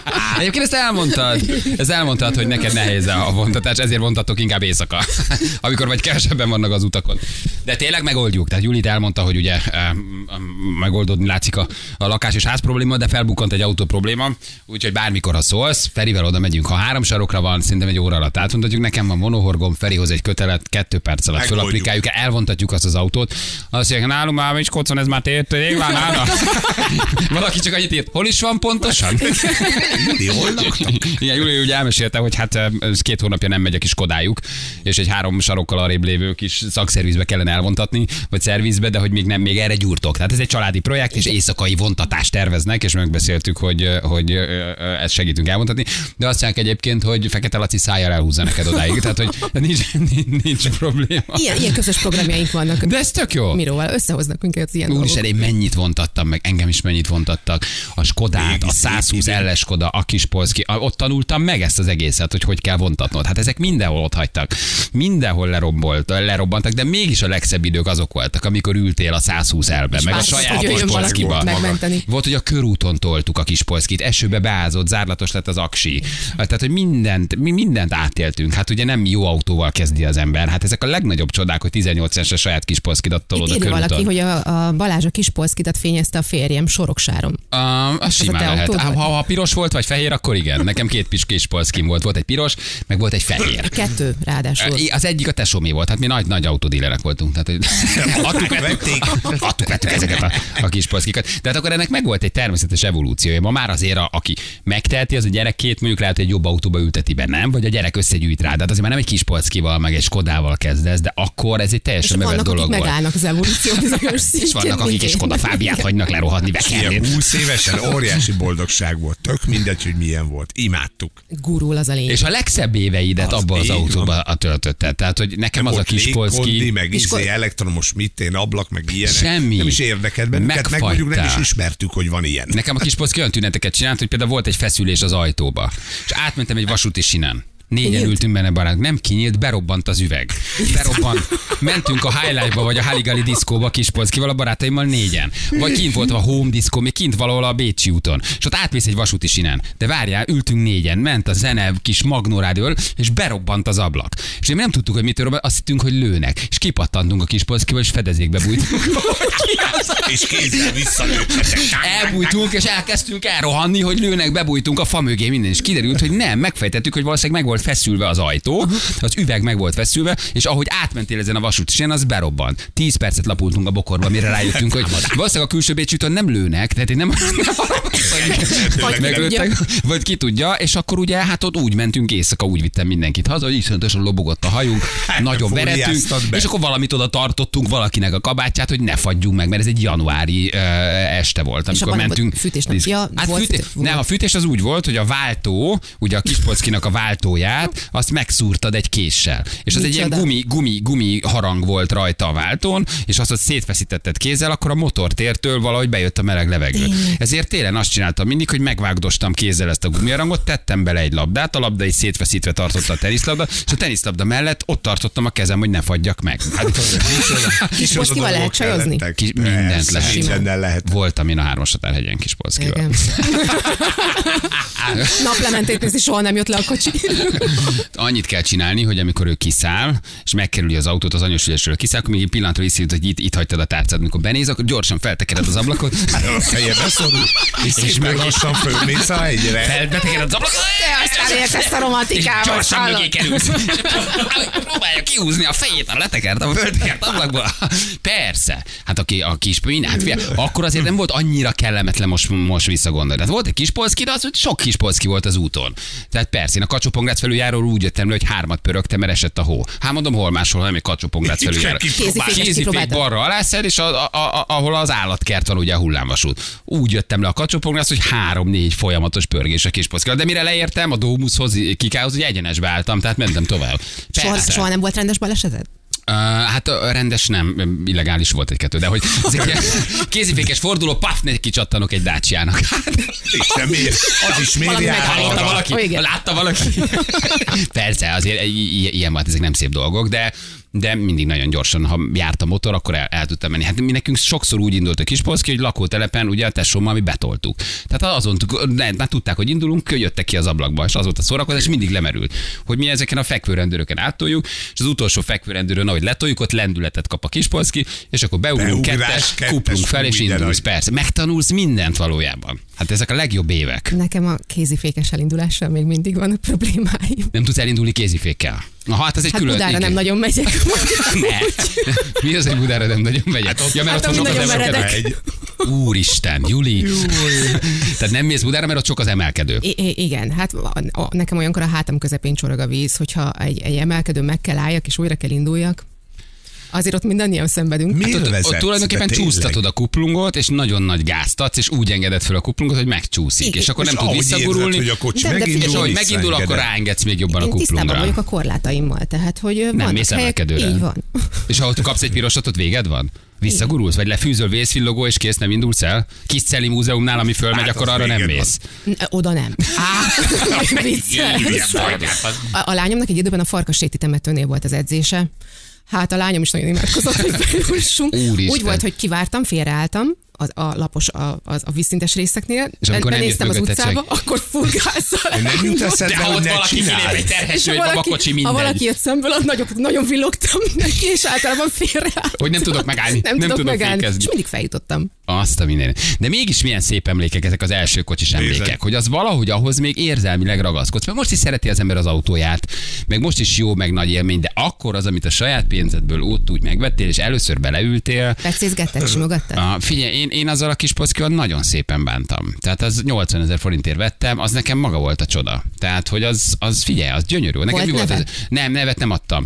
[SPEAKER 2] Á, Egyébként ezt elmondtad. Ez elmondtad, hogy neked nehéz a vontatás, ezért vontatok inkább éjszaka, amikor vagy kevesebben vannak az utakon. De tényleg megoldjuk. Tehát Julit elmondta, hogy ugye em, em, megoldódni látszik a, a lakás és ház probléma, de felbukkant egy autó probléma, úgyhogy bármikor, ha szólsz, Ferivel oda megyünk. Ha három sarokra van, szerintem egy óra alatt átmondhatjuk. Nekem van monohorgom, Ferihoz egy kötelet, kettő perc alatt
[SPEAKER 3] Megoldjuk.
[SPEAKER 2] fölaplikáljuk, elvontatjuk azt az autót. Azt mondják, nálunk már is kocon, ez már tért, már nála. Valaki csak annyit írt, hol is van pontosan?
[SPEAKER 3] Ti hol laktak?
[SPEAKER 2] Igen, Júli ugye elmesélte, hogy hát em, ez két hónapja nem megy a kis kodájuk, és egy három sarokkal arrébb lévő kis szakszervizbe kellene elvontatni, vagy szervizbe, de hogy még nem, még erre gyúrtok. Tehát ez egy családi projekt, és éjszakai vontatást terveznek, és megbeszéltük, hogy, hogy ö, ö, ezt segítünk elvontatni. De azt mondják egyébként, hogy Fekete Laci szájára elhúzza neked odáig, tehát hogy nincs, nincs, nincs probléma.
[SPEAKER 4] Ilyen, ilyen közös programjaink vannak.
[SPEAKER 2] De ez tök jó.
[SPEAKER 4] Miróval összehoznak minket az ilyen
[SPEAKER 2] Úristen,
[SPEAKER 4] dolgok.
[SPEAKER 2] én mennyit vontattam meg, engem is mennyit vontattak. A Skodát,
[SPEAKER 3] Régi
[SPEAKER 2] a
[SPEAKER 3] szép
[SPEAKER 2] 120
[SPEAKER 3] idő.
[SPEAKER 2] ls Skoda, a Kispolszki, a- ott tanultam meg ezt az egészet, hogy hogy kell vontatnod. Hát ezek mindenhol ott hagytak. Mindenhol lerombolt, lerobbantak, de mégis a legszebb idők azok voltak, amikor ültél a 120 elbe, meg a
[SPEAKER 4] vártad,
[SPEAKER 2] saját
[SPEAKER 4] hogy jöjjön valaki
[SPEAKER 2] Kispolszkiba.
[SPEAKER 4] megmenteni.
[SPEAKER 2] Volt, hogy a körúton toltuk a Kispolszkit, esőbe beázott, zárlatos lett az aksi. Tehát, hogy mindent, mi mindent átéltünk. Hát ugye nem jó autóval kezdi az ember. Hát ezek a legnagyobb csodák, hogy 18 es a saját Kispolszkidat tolod
[SPEAKER 4] Itt
[SPEAKER 2] a
[SPEAKER 4] írja
[SPEAKER 2] körúton.
[SPEAKER 4] valaki, hogy a, a Balázs a kispolszkidat fényezte a férjem soroksáron.
[SPEAKER 2] Um, az
[SPEAKER 4] a
[SPEAKER 2] simán
[SPEAKER 4] te
[SPEAKER 2] lehet.
[SPEAKER 4] autód
[SPEAKER 2] Ha,
[SPEAKER 4] vagy?
[SPEAKER 2] ha, ha piros volt, vagy fehér, akkor igen. Nekem két pis kis polszkim volt. Volt egy piros, meg volt egy fehér.
[SPEAKER 4] Kettő ráadásul.
[SPEAKER 2] Ö, Az egyik a tesómé volt, hát mi nagy-nagy autodílerek voltunk. Tehát, hogy adtuk, vettük, adtuk, vettük ezeket a, a kis polszkikat. De hát akkor ennek meg volt egy természetes evolúciója. Ma már azért, a, aki megteheti, az a gyerekét mondjuk lehet, hogy egy jobb autóba ülteti be, nem? Vagy a gyerek összegyűjt rá. De hát azért már nem egy kis polszkival, meg egy Skodával kezdesz, de akkor ez egy
[SPEAKER 4] És
[SPEAKER 2] teljesen bevett
[SPEAKER 4] vannak, akik
[SPEAKER 2] dolog volt.
[SPEAKER 4] megállnak az evolúció bizonyos szintjén.
[SPEAKER 2] És vannak, akik
[SPEAKER 4] mint
[SPEAKER 2] egy
[SPEAKER 4] én.
[SPEAKER 2] Skoda fábiát hagynak lerohadni,
[SPEAKER 3] Ilyen
[SPEAKER 2] bekerni.
[SPEAKER 3] 20 évesen óriási boldogság volt. Tök mindegy, hogy milyen volt. Imádtuk.
[SPEAKER 4] Gurul az a lényeg.
[SPEAKER 2] És a legszebb éveidet
[SPEAKER 3] Az
[SPEAKER 2] abba az
[SPEAKER 3] így
[SPEAKER 2] autóba a töltötted. Tehát, hogy nekem az a
[SPEAKER 3] Volt
[SPEAKER 2] kis
[SPEAKER 3] légkondi,
[SPEAKER 2] polszki,
[SPEAKER 3] meg izé, elektromos mitén, ablak, meg ilyenek.
[SPEAKER 2] Semmi.
[SPEAKER 3] Nem is érdekelt bennünket, meg
[SPEAKER 2] Megfagytál.
[SPEAKER 3] mondjuk nem is ismertük, hogy van ilyen.
[SPEAKER 2] nekem a kis polszki olyan tüneteket csinált, hogy például volt egy feszülés az ajtóba, és átmentem egy vasúti sinen. Négyen
[SPEAKER 4] Kinyílt?
[SPEAKER 2] ültünk benne barát, nem kinyílt, berobbant az üveg. Berobbant. Mentünk a Highlight-ba vagy a Haligali diszkóba Kispolszkival, a barátaimmal négyen. Vagy kint volt a Home diszkó, még kint valahol a Bécsi úton. És ott átmész egy vasúti sinen. De várjál, ültünk négyen, ment a zene, kis magnórádió, és berobbant az ablak. És én nem tudtuk, hogy mitől robbant, azt hittünk, hogy lőnek. És kipattantunk a Kispolszkiba, és fedezékbe bújtunk. Hogy ki az?
[SPEAKER 3] És kézzel visszalőttetek.
[SPEAKER 2] Elbújtunk, és elkezdtünk elrohanni, hogy lőnek, bebújtunk a fa mögé, minden. És kiderült, hogy nem, megfejtettük, hogy valószínűleg meg volt feszülve az ajtó, az üveg meg volt feszülve, és ahogy átmentél ezen a vasútisén, az berobbant. Tíz percet lapultunk a bokorba, mire rájöttünk, hogy valószínűleg a külső bécsütön nem lőnek, tehát én nem, nem arra gondoltam, hogy
[SPEAKER 3] Vagy
[SPEAKER 2] meglőttek, vagy ki tudja, és akkor ugye hát ott úgy mentünk éjszaka, úgy vittem mindenkit haza, hogy iszonyatosan lobogott a hajunk, nagyon
[SPEAKER 3] fóliáztad
[SPEAKER 2] verettünk,
[SPEAKER 3] be.
[SPEAKER 2] és akkor valamit oda tartottunk valakinek a kabátját, hogy ne fagyjunk meg, mert ez egy januári ö, este volt,
[SPEAKER 4] És
[SPEAKER 2] amikor
[SPEAKER 4] abban nem
[SPEAKER 2] mentünk.
[SPEAKER 4] volt fűtés, nem? Ja,
[SPEAKER 2] hát
[SPEAKER 4] volt
[SPEAKER 2] fűtés,
[SPEAKER 4] fűtés, volt.
[SPEAKER 2] nem, a fűtés az úgy volt, hogy a váltó, ugye a kispolckinak a váltóját, azt megszúrtad egy késsel. És az egy ilyen
[SPEAKER 4] Micsoda.
[SPEAKER 2] gumi, gumi, gumi harang volt rajta a váltón, és azt ott szétfeszítetted kézzel, akkor a motortértől valahogy bejött a meleg levegő. Ezért télen azt csináltam mindig, hogy megvágdostam kézzel ezt a gumiharangot, tettem bele egy labdát, a labda is szétfeszítve tartotta a teniszlabda, és a teniszlabda mellett ott tartottam a kezem, hogy ne fagyjak meg. Hát,
[SPEAKER 4] És most kivel lehet csajozni?
[SPEAKER 2] Kis- mindent lehet.
[SPEAKER 3] Mindennel lehet.
[SPEAKER 2] Voltam én a hármas határhegyen kis polszkival.
[SPEAKER 4] Igen. Naplementét nézni, soha nem jött le a kocsi.
[SPEAKER 2] Annyit kell csinálni, hogy amikor ő kiszáll, és megkerüli az autót az anyósülésről kiszáll, akkor még egy pillanatra hiszed, hogy itt, itt hagytad a tárcád, amikor benéz, akkor gyorsan feltekered az ablakot,
[SPEAKER 3] Helyedbe szorul, és meg lassan fölmész a hegyre.
[SPEAKER 2] feltekered az ablakot,
[SPEAKER 4] Te aztán érsz ezt a
[SPEAKER 2] és
[SPEAKER 4] romantikához,
[SPEAKER 2] gyorsan
[SPEAKER 4] hallod?
[SPEAKER 2] mögé kerülsz. Próbálja kihúzni a fejét a letekert, a föltekert ablakból. Persze. Hát aki a kis min, hát figyelj, akkor azért nem volt annyira kellemetlen most, most visszagondolni. Tehát volt egy kis polszki, de az, hogy sok kis polszki volt az úton. Tehát persze, én a kacsopongrácz felüljáról úgy jöttem le, hogy hármat pörögtem, mert esett a hó. Hát mondom, hol máshol, nem egy kacsopongrácz
[SPEAKER 3] Itt kell
[SPEAKER 2] felüljáról.
[SPEAKER 3] kipróbálni.
[SPEAKER 4] Kézifékes
[SPEAKER 2] Kézifék
[SPEAKER 4] kipróbáltad.
[SPEAKER 2] balra alászer, és a, a, a, ahol az állatkert van, ugye a hullámvasút. Úgy jöttem le a kacsopongrácz, hogy három-négy folyamatos pörgés a kis polszkira. De mire leértem a Dómuszhoz, Kikához, hogy egyenesbe álltam, tehát mentem tovább.
[SPEAKER 4] Soha,
[SPEAKER 2] Persze.
[SPEAKER 4] soha nem volt rendes baleseted?
[SPEAKER 2] Uh, hát ö, rendes nem, illegális volt egy-kettő, de hogy az egy ilyen kézifékes forduló, paf, neki kicsattanok egy dácsiának.
[SPEAKER 3] Isten, miért? Az is miért
[SPEAKER 4] Valami
[SPEAKER 3] jár?
[SPEAKER 4] megállítom.
[SPEAKER 2] Hallotta
[SPEAKER 4] Hallottam.
[SPEAKER 2] valaki?
[SPEAKER 4] Ó, igen.
[SPEAKER 2] Látta valaki? Persze, azért i- i- ilyen volt, ezek nem szép dolgok, de de mindig nagyon gyorsan, ha járt a motor, akkor el, el tudtam menni. Hát mi nekünk sokszor úgy indult a Kispolszki, hogy lakótelepen ugye a tesómmal mi betoltuk. Tehát azon tuk- ne- már tudták, hogy indulunk, jöttek ki az ablakba, és az volt a szórakozás, és mindig lemerült. Hogy mi ezeken a fekvőrendőröken áttoljuk, és az utolsó fekvőrendőrön, ahogy letoljuk, ott lendületet kap a Kispolszki, és akkor beugrunk
[SPEAKER 3] Beugrás,
[SPEAKER 2] kettes,
[SPEAKER 3] kettes,
[SPEAKER 2] kuplunk fel,
[SPEAKER 3] hú,
[SPEAKER 2] és
[SPEAKER 3] de nagy.
[SPEAKER 2] indulsz. Persze, megtanulsz mindent valójában. Hát ezek a legjobb évek.
[SPEAKER 4] Nekem a kézifékes elindulással még mindig van a problémáim.
[SPEAKER 2] Nem tudsz elindulni kézifékkel. Na, hát ez egy
[SPEAKER 4] Hát
[SPEAKER 2] külön.
[SPEAKER 4] Budára
[SPEAKER 2] igen.
[SPEAKER 4] nem nagyon megyek.
[SPEAKER 2] Ne. Mi az, hogy Budára nem nagyon megy? Hát ja, mert
[SPEAKER 4] hát
[SPEAKER 2] ott van
[SPEAKER 4] ami
[SPEAKER 2] sok az
[SPEAKER 4] nagyon
[SPEAKER 2] emelkedő.
[SPEAKER 4] meredek.
[SPEAKER 2] Egy. Úristen, Juli. Tehát nem mész Budára, mert ott sok az emelkedő.
[SPEAKER 4] I- I- igen, hát a- a- nekem olyankor a hátam közepén csorog a víz, hogyha egy, egy emelkedő meg kell álljak és újra kell induljak. Azért ott mindannyian szenvedünk.
[SPEAKER 3] Miért
[SPEAKER 2] Hát Ott,
[SPEAKER 3] vezetsz?
[SPEAKER 2] ott tulajdonképpen
[SPEAKER 3] De tényleg.
[SPEAKER 2] csúsztatod a kuplungot, és nagyon nagy gáztatsz, és úgy engeded fel a kuplungot, hogy megcsúszik,
[SPEAKER 4] Igen.
[SPEAKER 2] és akkor nem
[SPEAKER 3] És
[SPEAKER 2] tud
[SPEAKER 3] ahogy
[SPEAKER 2] visszagurulni.
[SPEAKER 3] Érzed, hogy a kocsi
[SPEAKER 4] De- de
[SPEAKER 3] megindul,
[SPEAKER 4] figyelj,
[SPEAKER 2] és ahogy
[SPEAKER 3] visszaengeded.
[SPEAKER 2] megindul, akkor ráengedsz még jobban a
[SPEAKER 4] Én tisztában
[SPEAKER 2] kuplungra.
[SPEAKER 4] vagyok a korlátaimmal, tehát hogy ö,
[SPEAKER 2] Nem
[SPEAKER 4] vannak
[SPEAKER 2] mész
[SPEAKER 4] helyek-
[SPEAKER 2] emelkedőre.
[SPEAKER 4] Így van.
[SPEAKER 2] És ha ott kapsz egy pirosat, ott véged van? Visszagurulsz, vagy lefűzöl vészvillogó, és kész, nem indulsz el? Kis Celi múzeumnál, ami fölmegy,
[SPEAKER 3] Hát,
[SPEAKER 2] akkor
[SPEAKER 3] az
[SPEAKER 2] arra nem
[SPEAKER 3] véged
[SPEAKER 2] mész.
[SPEAKER 4] N- Oda nem. Á,
[SPEAKER 5] Ilyen
[SPEAKER 4] vicces.
[SPEAKER 5] bajnál.
[SPEAKER 4] A, a lányomnak egy időben a farkaséti temetőnél volt az edzése. Hát a lányom is nagyon imádkozott, hogy bejussunk.
[SPEAKER 2] Úristen.
[SPEAKER 4] Úgy volt, hogy kivártam, félreálltam az, a lapos, a, az, a vízszintes részeknél.
[SPEAKER 2] És amikor nem
[SPEAKER 4] Benéztem
[SPEAKER 2] jött
[SPEAKER 4] az
[SPEAKER 2] mögötted
[SPEAKER 4] utcába, akkor furgázzal.
[SPEAKER 3] Nem jut
[SPEAKER 2] De
[SPEAKER 3] eszedbe,
[SPEAKER 2] ha
[SPEAKER 3] hogy
[SPEAKER 2] ott
[SPEAKER 3] ne
[SPEAKER 2] valaki
[SPEAKER 3] csináld.
[SPEAKER 2] kilép egy terhes,
[SPEAKER 4] És ha
[SPEAKER 2] vagy
[SPEAKER 4] valaki,
[SPEAKER 2] babakocsi, mindegy.
[SPEAKER 4] ha valaki jött szemből, az nagyon, nagyon villogtam neki, és általában félreálltam.
[SPEAKER 2] Hogy nem tudok megállni,
[SPEAKER 4] Nem,
[SPEAKER 2] nem
[SPEAKER 4] tudok,
[SPEAKER 2] tudok
[SPEAKER 4] megállni.
[SPEAKER 2] fékezni.
[SPEAKER 4] És mindig feljutottam.
[SPEAKER 2] Azt a minden. De mégis milyen szép emlékek ezek az első kocsis emlékek,
[SPEAKER 3] Bizony.
[SPEAKER 2] hogy az valahogy ahhoz még érzelmileg ragaszkodsz. Mert most is szereti az ember az autóját, meg most is jó, meg nagy élmény, de akkor az, amit a saját pénzedből ott úgy megvettél, és először beleültél,
[SPEAKER 4] Pecézgetted, simogattad?
[SPEAKER 2] a, figyelj, én, én azzal a kis pockival nagyon szépen bántam. Tehát az 80 ezer forintért vettem, az nekem maga volt a csoda. Tehát, hogy az, az figyelj, az gyönyörű. Nekem
[SPEAKER 4] Volt
[SPEAKER 2] mi volt
[SPEAKER 4] neve?
[SPEAKER 2] az? Nem, nevet nem adtam.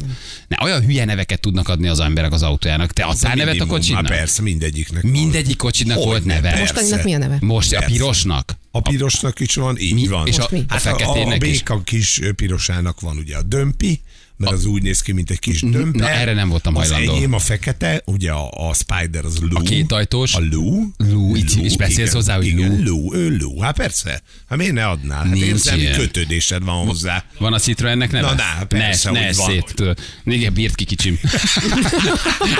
[SPEAKER 2] Ne, olyan hülye neveket tudnak adni az emberek az autójának. Te adtál nevet a
[SPEAKER 3] Minimum. Hát
[SPEAKER 2] kocsinak?
[SPEAKER 3] persze, mindegyiknek.
[SPEAKER 2] Mindegyik kocsinak
[SPEAKER 3] Hogy
[SPEAKER 2] volt
[SPEAKER 3] ne,
[SPEAKER 2] neve.
[SPEAKER 3] persze.
[SPEAKER 4] Mostaninak mi a neve?
[SPEAKER 2] Most a
[SPEAKER 3] Persze.
[SPEAKER 2] pirosnak.
[SPEAKER 3] A pirosnak is van, így
[SPEAKER 2] Mi-
[SPEAKER 3] van. Hát
[SPEAKER 2] és a- Most mi? a
[SPEAKER 3] a, a
[SPEAKER 2] feketének is.
[SPEAKER 3] béka kis pirosának van ugye a dömpi, mert az úgy néz ki, mint egy kis dömpe.
[SPEAKER 2] na, erre nem voltam hajlandó.
[SPEAKER 3] Az enyém a fekete, ugye a, a Spider az Lou. A
[SPEAKER 2] kétajtós.
[SPEAKER 3] A Lou.
[SPEAKER 2] Lou, így- és beszélsz
[SPEAKER 3] igen,
[SPEAKER 2] hozzá, hogy
[SPEAKER 3] igen,
[SPEAKER 2] Lou?
[SPEAKER 3] Lou, ő Lou. Hát persze. Hát miért ne adnál? Hát
[SPEAKER 2] Nincs
[SPEAKER 3] érzelmi
[SPEAKER 2] ilyen.
[SPEAKER 3] kötődésed van hozzá.
[SPEAKER 2] Van a Citroennek neve?
[SPEAKER 3] Na, na, persze,
[SPEAKER 2] ne,
[SPEAKER 3] úgy
[SPEAKER 2] ne
[SPEAKER 3] van,
[SPEAKER 2] szét. tudod. Igen, bírt ki kicsim.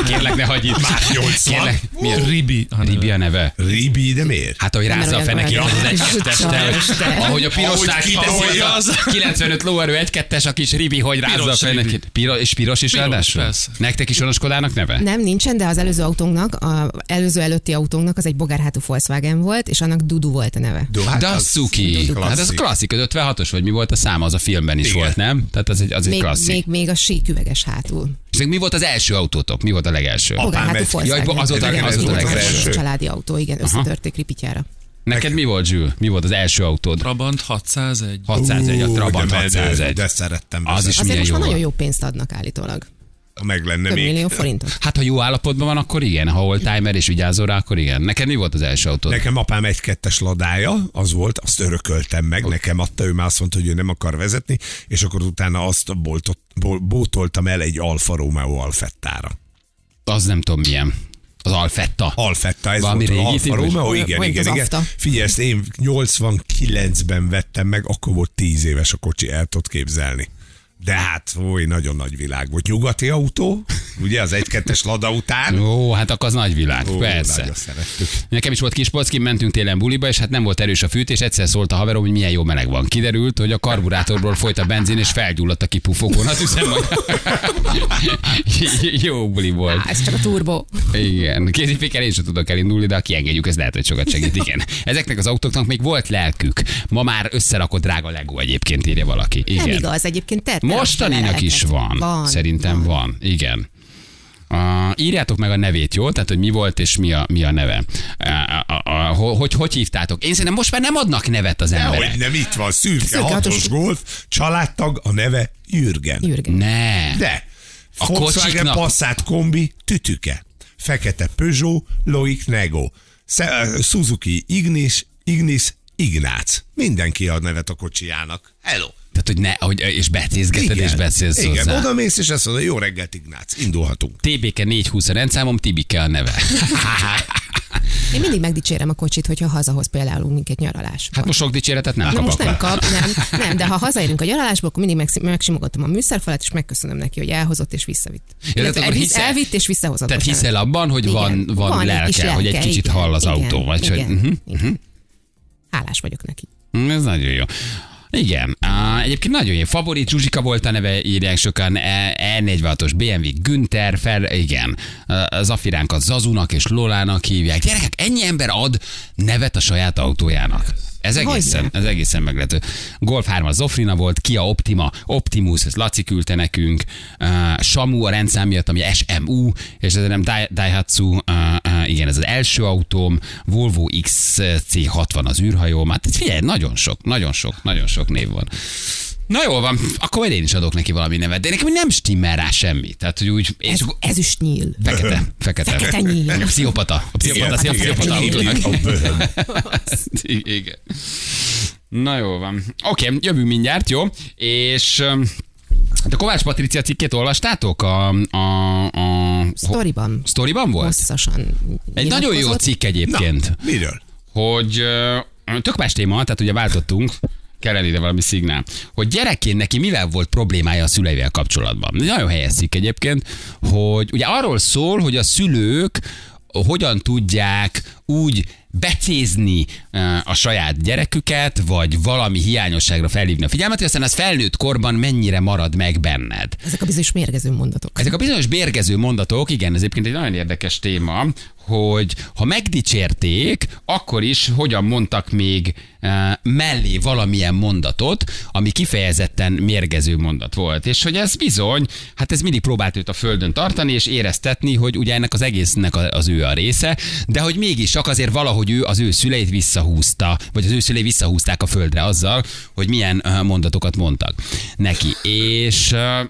[SPEAKER 2] Kérlek, ne hagyj itt.
[SPEAKER 3] Már 80.
[SPEAKER 2] Kérlek, mi a Ribi? Ribi a neve.
[SPEAKER 3] Ribi, de miért?
[SPEAKER 2] Hát, ahogy rázza a
[SPEAKER 4] olyan
[SPEAKER 2] fenekét,
[SPEAKER 4] van.
[SPEAKER 2] az az
[SPEAKER 4] Ja.
[SPEAKER 2] egy-kettestel.
[SPEAKER 4] Isten.
[SPEAKER 2] Ahogy a pirosnál
[SPEAKER 3] Ahogy
[SPEAKER 2] kitolja
[SPEAKER 3] kitolja.
[SPEAKER 2] az a 95 lóerő egy-kettes, a kis Ribi, hogy rázza a
[SPEAKER 5] Piros Ribi.
[SPEAKER 2] fenekét. Piro- és piros is
[SPEAKER 5] Piros,
[SPEAKER 2] ráadásul?
[SPEAKER 5] persze.
[SPEAKER 2] Nektek is onoskodának neve?
[SPEAKER 4] Nem, nincsen, de az előző autónknak, a előző előtti autónknak az egy bogárhátú Volkswagen volt, és annak Dudu volt a neve.
[SPEAKER 3] Do- hát az
[SPEAKER 2] Dasuki. Hát az
[SPEAKER 3] klasszik.
[SPEAKER 2] klasszik, az 56-os, vagy mi volt a száma, az a filmben is
[SPEAKER 3] Igen.
[SPEAKER 2] volt, nem? Tehát az egy, az egy
[SPEAKER 4] Még,
[SPEAKER 2] klasszik.
[SPEAKER 4] még, még a sík üveges hátul.
[SPEAKER 2] És még mi volt az első autótok? Mi volt a legelső?
[SPEAKER 3] Apám
[SPEAKER 4] Bogárhátú
[SPEAKER 3] egy-
[SPEAKER 2] Jaj,
[SPEAKER 4] Volkswagen.
[SPEAKER 2] az volt a-
[SPEAKER 4] Igen,
[SPEAKER 2] az volt a
[SPEAKER 4] igen,
[SPEAKER 2] legelső.
[SPEAKER 4] volt a Családi autó, igen, összetörték ripityára.
[SPEAKER 2] Neked mi volt, Zsül? Mi volt az első autód?
[SPEAKER 5] Trabant 601.
[SPEAKER 2] 601, a
[SPEAKER 3] Ú,
[SPEAKER 2] Trabant
[SPEAKER 3] de menő,
[SPEAKER 2] 601.
[SPEAKER 3] De szerettem.
[SPEAKER 2] Az
[SPEAKER 3] vele.
[SPEAKER 2] is
[SPEAKER 4] Azért
[SPEAKER 2] milyen
[SPEAKER 4] most
[SPEAKER 2] jó
[SPEAKER 4] már nagyon
[SPEAKER 2] volt.
[SPEAKER 4] jó pénzt adnak állítólag.
[SPEAKER 3] Ha meg lenne
[SPEAKER 4] Több
[SPEAKER 3] még.
[SPEAKER 4] millió forintot.
[SPEAKER 2] Hát, ha jó állapotban van, akkor igen. Ha oldtimer és vigyázol rá, akkor igen. Neked mi volt az első autód?
[SPEAKER 3] Nekem apám egy kettes ladája, az volt, azt örököltem meg, nekem adta, ő már azt mondta, hogy ő nem akar vezetni, és akkor utána azt boltot, bol, bótoltam el egy Alfa Romeo Alfettára.
[SPEAKER 2] Az nem tudom milyen. Az Alfetta.
[SPEAKER 3] Alfetta, ez
[SPEAKER 2] Valami
[SPEAKER 3] volt az
[SPEAKER 2] régi
[SPEAKER 3] Alfa
[SPEAKER 2] típus?
[SPEAKER 3] Romeo,
[SPEAKER 4] Olyan-
[SPEAKER 3] igen,
[SPEAKER 4] olyan,
[SPEAKER 3] igen,
[SPEAKER 4] mint az
[SPEAKER 3] igen.
[SPEAKER 4] Afta.
[SPEAKER 3] Figyelj, ezt én 89-ben vettem meg, akkor volt 10 éves a kocsi, el tudod képzelni. De hát, oly, nagyon nagy világ volt. Nyugati autó, ugye az 1-2-es Lada után.
[SPEAKER 2] Ó, hát akkor az nagyvilág,
[SPEAKER 3] Ó,
[SPEAKER 2] persze.
[SPEAKER 3] nagyon szerettük.
[SPEAKER 2] Nekem is volt kis polckim, mentünk télen buliba, és hát nem volt erős a fűtés, egyszer szólt a haverom, hogy milyen jó meleg van. Kiderült, hogy a karburátorból folyt a benzin, és felgyulladt a kipufogón. Hát hiszem, hogy jó buli volt.
[SPEAKER 4] Á, ez csak a turbó.
[SPEAKER 2] Igen, kézifikkel én sem tudok elindulni, de ha kiengedjük, ez lehet, hogy sokat segít. Igen. Ezeknek az autóknak még volt lelkük. Ma már összerakott drága Lego egyébként, írja valaki.
[SPEAKER 4] Nem
[SPEAKER 2] Igen.
[SPEAKER 4] igaz, egyébként te. te
[SPEAKER 2] Mostaninak
[SPEAKER 4] raksz
[SPEAKER 2] is
[SPEAKER 4] le
[SPEAKER 2] van.
[SPEAKER 4] leleket.
[SPEAKER 2] van Szerintem van. van. Igen. Uh, írjátok meg a nevét, jó? Tehát, hogy mi volt és mi a, mi a neve. Uh, uh, uh, ho- hogy, hogy hívtátok? Én szerintem most már nem adnak nevet az
[SPEAKER 3] Hogy
[SPEAKER 2] emberek.
[SPEAKER 3] nem itt van, szürke,
[SPEAKER 4] Szürke hatos.
[SPEAKER 3] hatos golf, családtag, a neve Jürgen.
[SPEAKER 4] Jürgen.
[SPEAKER 2] Ne.
[SPEAKER 3] De
[SPEAKER 2] A
[SPEAKER 3] a Volkswagen
[SPEAKER 2] kocsiknak-
[SPEAKER 3] Passat kombi tütüke, fekete Peugeot, Loic Nego, Sze- Suzuki Ignis, Ignis Ignác. Mindenki ad nevet a kocsijának. Hello.
[SPEAKER 2] Tehát, hogy ne, hogy, és becézgeted és beszélsz
[SPEAKER 3] Igen.
[SPEAKER 2] hozzá.
[SPEAKER 3] Oda mész, és azt mondod, jó reggelt, Ignác, indulhatunk.
[SPEAKER 2] TBK 420 a rendszámom, Tibike a neve.
[SPEAKER 4] Én mindig megdicsérem a kocsit, hogyha hazahoz például minket nyaralás.
[SPEAKER 2] Hát most sok dicséretet nem
[SPEAKER 4] Na
[SPEAKER 2] kapok.
[SPEAKER 4] most nem
[SPEAKER 2] le.
[SPEAKER 4] kap, nem, nem, de ha hazaérünk a nyaralásból, akkor mindig megszim- megsimogatom a műszerfalat, és megköszönöm neki, hogy elhozott és visszavitt.
[SPEAKER 2] Ja,
[SPEAKER 4] Illetve
[SPEAKER 2] akkor
[SPEAKER 4] elvisz-
[SPEAKER 2] hiszel-
[SPEAKER 4] elvitt és visszahozott.
[SPEAKER 2] Tehát
[SPEAKER 4] bocsánat.
[SPEAKER 2] hiszel abban, hogy van,
[SPEAKER 4] Igen,
[SPEAKER 2] van,
[SPEAKER 4] egy kis
[SPEAKER 2] lelke, hogy egy kicsit
[SPEAKER 4] igen,
[SPEAKER 2] hall az
[SPEAKER 4] igen,
[SPEAKER 2] autó, vagy
[SPEAKER 4] igen,
[SPEAKER 2] hogy... Mhm.
[SPEAKER 4] igen. Hálás vagyok neki.
[SPEAKER 2] Mm, Ez nagyon jó. Igen, á, egyébként nagyon jó. Favorit Zsuzsika volt a neve, írják sokan, E- E46-os BMW Günther, fel, igen, az afiránk a Zazunak és Lolának hívják. Gyerekek, ennyi ember ad nevet a saját autójának. Ez egészen, ez egészen meglepő. Golf 3 a Zofrina volt, Kia Optima, Optimus, ez Laci küldte nekünk, uh, Samu a rendszám miatt, ami SMU, és ez nem Dai- Daihatsu, uh, uh, igen, ez az első autóm, Volvo XC60 az űrhajóm, hát figyelj, nagyon sok, nagyon sok, nagyon sok név van. Na jól van, akkor majd én is adok neki valami nevet, de nekem nem stimmel rá semmi. Tehát, hogy úgy, és
[SPEAKER 4] Ez,
[SPEAKER 2] akkor
[SPEAKER 4] ez is nyíl.
[SPEAKER 2] fekete, fekete.
[SPEAKER 4] Fekete nyíl.
[SPEAKER 2] A pszichopata. A pszichopata, a
[SPEAKER 3] Igen,
[SPEAKER 2] pszichopata
[SPEAKER 3] igen,
[SPEAKER 2] autónak.
[SPEAKER 3] a bőhöm.
[SPEAKER 2] Igen. Na jó van. Oké, jövünk mindjárt, jó? És öm, hát a Kovács Patricia cikkét olvastátok? A, a, a ho-
[SPEAKER 4] Sztoriban.
[SPEAKER 2] sztoriban volt?
[SPEAKER 4] Hosszasan.
[SPEAKER 2] Egy nagyon jó
[SPEAKER 4] nyilatkozott.
[SPEAKER 2] cikk
[SPEAKER 3] Na,
[SPEAKER 2] egyébként,
[SPEAKER 3] miről?
[SPEAKER 2] hogy ö, tök más téma, tehát ugye váltottunk, kell ide valami szignál, hogy gyerekként neki mivel volt problémája a szüleivel kapcsolatban. Nagyon helyes cikk egyébként, hogy ugye arról szól, hogy a szülők hogyan tudják úgy becézni ö, a saját gyereküket, vagy valami hiányosságra felhívni a figyelmet, hogy aztán az felnőtt korban mennyire marad meg benned.
[SPEAKER 4] Ezek a bizonyos mérgező mondatok.
[SPEAKER 2] Ezek a bizonyos bérgező mondatok, igen, ez egyébként egy nagyon érdekes téma, hogy ha megdicsérték, akkor is hogyan mondtak még e, mellé valamilyen mondatot, ami kifejezetten mérgező mondat volt. És hogy ez bizony, hát ez mindig próbált őt a földön tartani, és éreztetni, hogy ugye ennek az egésznek a- az ő a része, de hogy mégis csak azért valahogy ő az ő szüleit visszahúzta, vagy az ő szülei visszahúzták a földre azzal, hogy milyen ö, mondatokat mondtak neki. És eh, ö,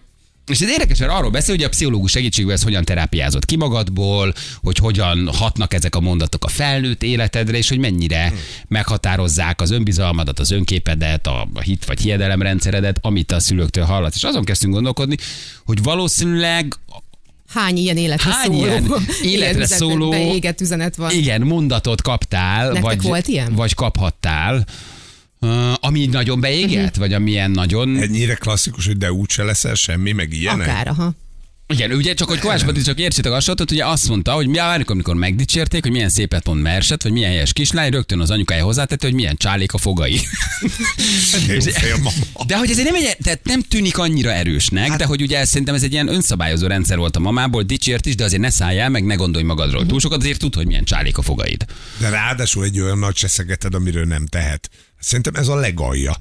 [SPEAKER 2] és ez érdekes, mert arról beszél, hogy a pszichológus segítségével ez hogyan terápiázott ki magadból, hogy hogyan hatnak ezek a mondatok a felnőtt életedre, és hogy mennyire meghatározzák az önbizalmadat, az önképedet, a a hit vagy hiedelemrendszeredet, amit a szülőktől hallatsz. És azon kezdtünk gondolkodni, hogy valószínűleg
[SPEAKER 4] Hány ilyen életre
[SPEAKER 2] Hány
[SPEAKER 4] szóló,
[SPEAKER 2] ilyen életre
[SPEAKER 4] üzenet-
[SPEAKER 2] szóló-
[SPEAKER 4] beégett üzenet van.
[SPEAKER 2] igen, mondatot kaptál,
[SPEAKER 4] Nektek
[SPEAKER 2] vagy,
[SPEAKER 4] volt ilyen?
[SPEAKER 2] vagy kaphattál, ö, ami így nagyon beégett,
[SPEAKER 4] Mhm.
[SPEAKER 2] vagy amilyen nagyon
[SPEAKER 3] Ennyire klasszikus, hogy de úgyse leszel semmi, meg ilyenek?
[SPEAKER 4] Akár, aha.
[SPEAKER 2] Igen, ugye csak hogy Kovács Patrik csak értsétek a satot, ugye azt mondta, hogy mi amikor, amikor megdicsérték, hogy milyen szépet mond Merset, vagy milyen helyes kislány, rögtön az anyukája hozzátette, hogy milyen csálék a fogai.
[SPEAKER 3] Jó fej a mama.
[SPEAKER 2] De hogy ez nem, egy, tehát nem tűnik annyira erősnek, de hogy ugye ez, szerintem ez egy ilyen önszabályozó rendszer volt a mamából, dicsért is, de azért ne szálljál, meg ne gondolj magadról túl sokat, azért tud, hogy milyen csálék a fogaid.
[SPEAKER 3] De ráadásul egy olyan nagy seszegeted, amiről nem tehet. Szerintem ez a legalja.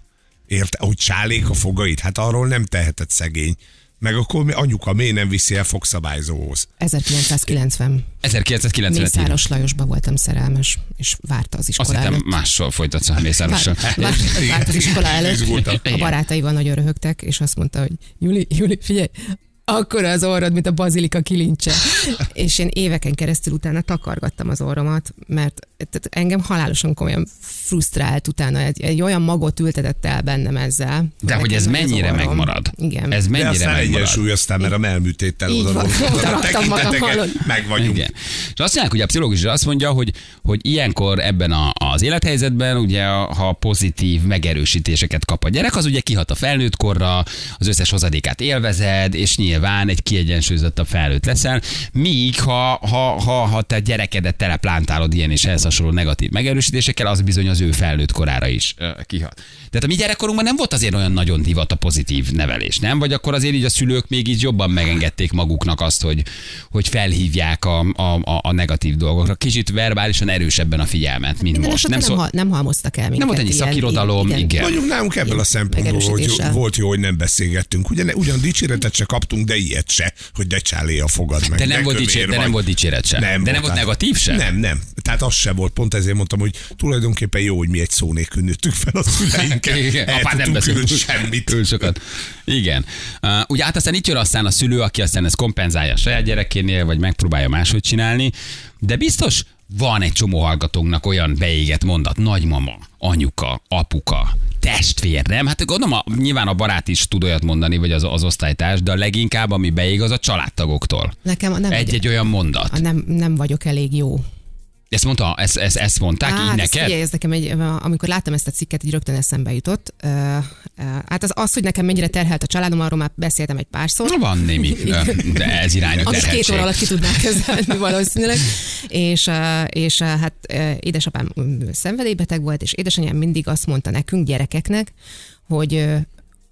[SPEAKER 3] Érte, hogy csálék a fogait, hát arról nem tehetett szegény. Meg akkor mi anyuka miért nem viszi el fogszabályzóhoz?
[SPEAKER 4] 1990.
[SPEAKER 2] 1990 ig
[SPEAKER 4] Mészáros Lajosba voltam szerelmes, és várta az
[SPEAKER 2] Azt
[SPEAKER 4] iskola
[SPEAKER 2] hittem
[SPEAKER 4] előtt.
[SPEAKER 2] mással folytatsz a Mészárossal.
[SPEAKER 4] Vár- vár- Várt az iskola előtt.
[SPEAKER 3] Izgultam.
[SPEAKER 4] A barátaival nagyon röhögtek, és azt mondta, hogy Juli, Juli, figyelj, akkor az orrod, mint a bazilika kilincse. És én éveken keresztül utána takargattam az orromat, mert tehát engem halálosan komolyan frusztrált utána. Egy, egy olyan magot ültetett el bennem ezzel.
[SPEAKER 2] De hogy
[SPEAKER 4] Nekem
[SPEAKER 2] ez
[SPEAKER 4] meg az
[SPEAKER 2] mennyire
[SPEAKER 4] orrom.
[SPEAKER 2] megmarad?
[SPEAKER 4] Igen.
[SPEAKER 2] Ez
[SPEAKER 3] De
[SPEAKER 2] mennyire
[SPEAKER 3] aztán
[SPEAKER 2] megmarad?
[SPEAKER 3] egyensúly, aztán mert a melműtéttel
[SPEAKER 4] Így
[SPEAKER 3] oda
[SPEAKER 4] van.
[SPEAKER 3] vonzottad a
[SPEAKER 4] Odaraktam magam,
[SPEAKER 3] tekinteteket,
[SPEAKER 4] hallod?
[SPEAKER 3] meg vagyunk.
[SPEAKER 2] Igen. És azt mondják, hogy a pszichológus is azt mondja, hogy, hogy ilyenkor ebben a, az élethelyzetben, ugye, ha pozitív megerősítéseket kap a gyerek, az ugye kihat a felnőtt korra, az összes hozadékát élvezed, és nyilván egy kiegyensúlyozottabb felnőtt leszel, míg ha, ha, ha, ha te gyerekedet teleplántálod ilyen és ehhez hasonló negatív megerősítésekkel, az bizony az ő felnőtt korára is ö, kihat. Tehát a mi gyerekkorunkban nem volt azért olyan nagyon divat a pozitív nevelés, nem? Vagy akkor azért így a szülők még így jobban megengedték maguknak azt, hogy, hogy felhívják a, a, a, a negatív dolgokra. Kicsit verbálisan erősebben a figyelmet, mint
[SPEAKER 4] De
[SPEAKER 2] most.
[SPEAKER 4] most nem,
[SPEAKER 2] szó-
[SPEAKER 4] szó... nem, nem halmoztak el minket.
[SPEAKER 2] volt ennyi
[SPEAKER 4] ilyen-
[SPEAKER 2] szakirodalom, igen.
[SPEAKER 3] Mondjuk nálunk ebből a szempontból volt,
[SPEAKER 4] megerősítéssel.
[SPEAKER 3] volt jó, hogy nem beszélgettünk. Ugyan, ugyan dicséretet se kaptunk, de ilyet se, hogy de csáléja fogad meg.
[SPEAKER 2] Hát de nem, volt
[SPEAKER 3] kövér
[SPEAKER 2] dicséret, de
[SPEAKER 3] vagy.
[SPEAKER 2] nem volt dicséret sem. de nem volt
[SPEAKER 3] hát-
[SPEAKER 2] negatív sem?
[SPEAKER 3] Nem, nem. Tehát az se volt. Pont ezért mondtam, hogy tulajdonképpen jó, hogy mi egy szó nélkül nőttük fel a szüleinket.
[SPEAKER 2] Igen,
[SPEAKER 3] El
[SPEAKER 2] apád nem
[SPEAKER 3] tudtunk
[SPEAKER 2] beszélt
[SPEAKER 3] ülni
[SPEAKER 2] túl-
[SPEAKER 3] semmit.
[SPEAKER 2] Túl sokat. Igen. Uh, ugye hát aztán itt jön aztán a szülő, aki aztán ezt kompenzálja a saját gyerekénél, vagy megpróbálja máshogy csinálni, de biztos van egy csomó hallgatónknak olyan beégett mondat, nagymama, anyuka, apuka, testvér, nem? Hát gondolom, a, nyilván a barát is tud olyat mondani, vagy az, az osztálytárs, de a leginkább, ami beég, az a családtagoktól.
[SPEAKER 4] Nekem a- nem, egy,
[SPEAKER 2] Egy-egy olyan mondat.
[SPEAKER 4] a nem, nem vagyok elég jó.
[SPEAKER 2] Ezt mondta, ezt, ezt, ezt mondták így
[SPEAKER 4] Hát,
[SPEAKER 2] neked?
[SPEAKER 4] Figyelj, ez nekem egy, amikor láttam ezt a cikket, így rögtön eszembe jutott. Ö, ö, Hát az, az, hogy nekem mennyire terhelt a családom, arról már beszéltem egy párszor.
[SPEAKER 2] Na, Van némi ö, de ez irányú
[SPEAKER 4] Amit két
[SPEAKER 2] terhetség.
[SPEAKER 4] óra alatt ki tudnák kezelni valószínűleg. És, ö, és ö, hát ö, édesapám mm, szenvedélybeteg volt, és édesanyám mindig azt mondta nekünk, gyerekeknek, hogy ö,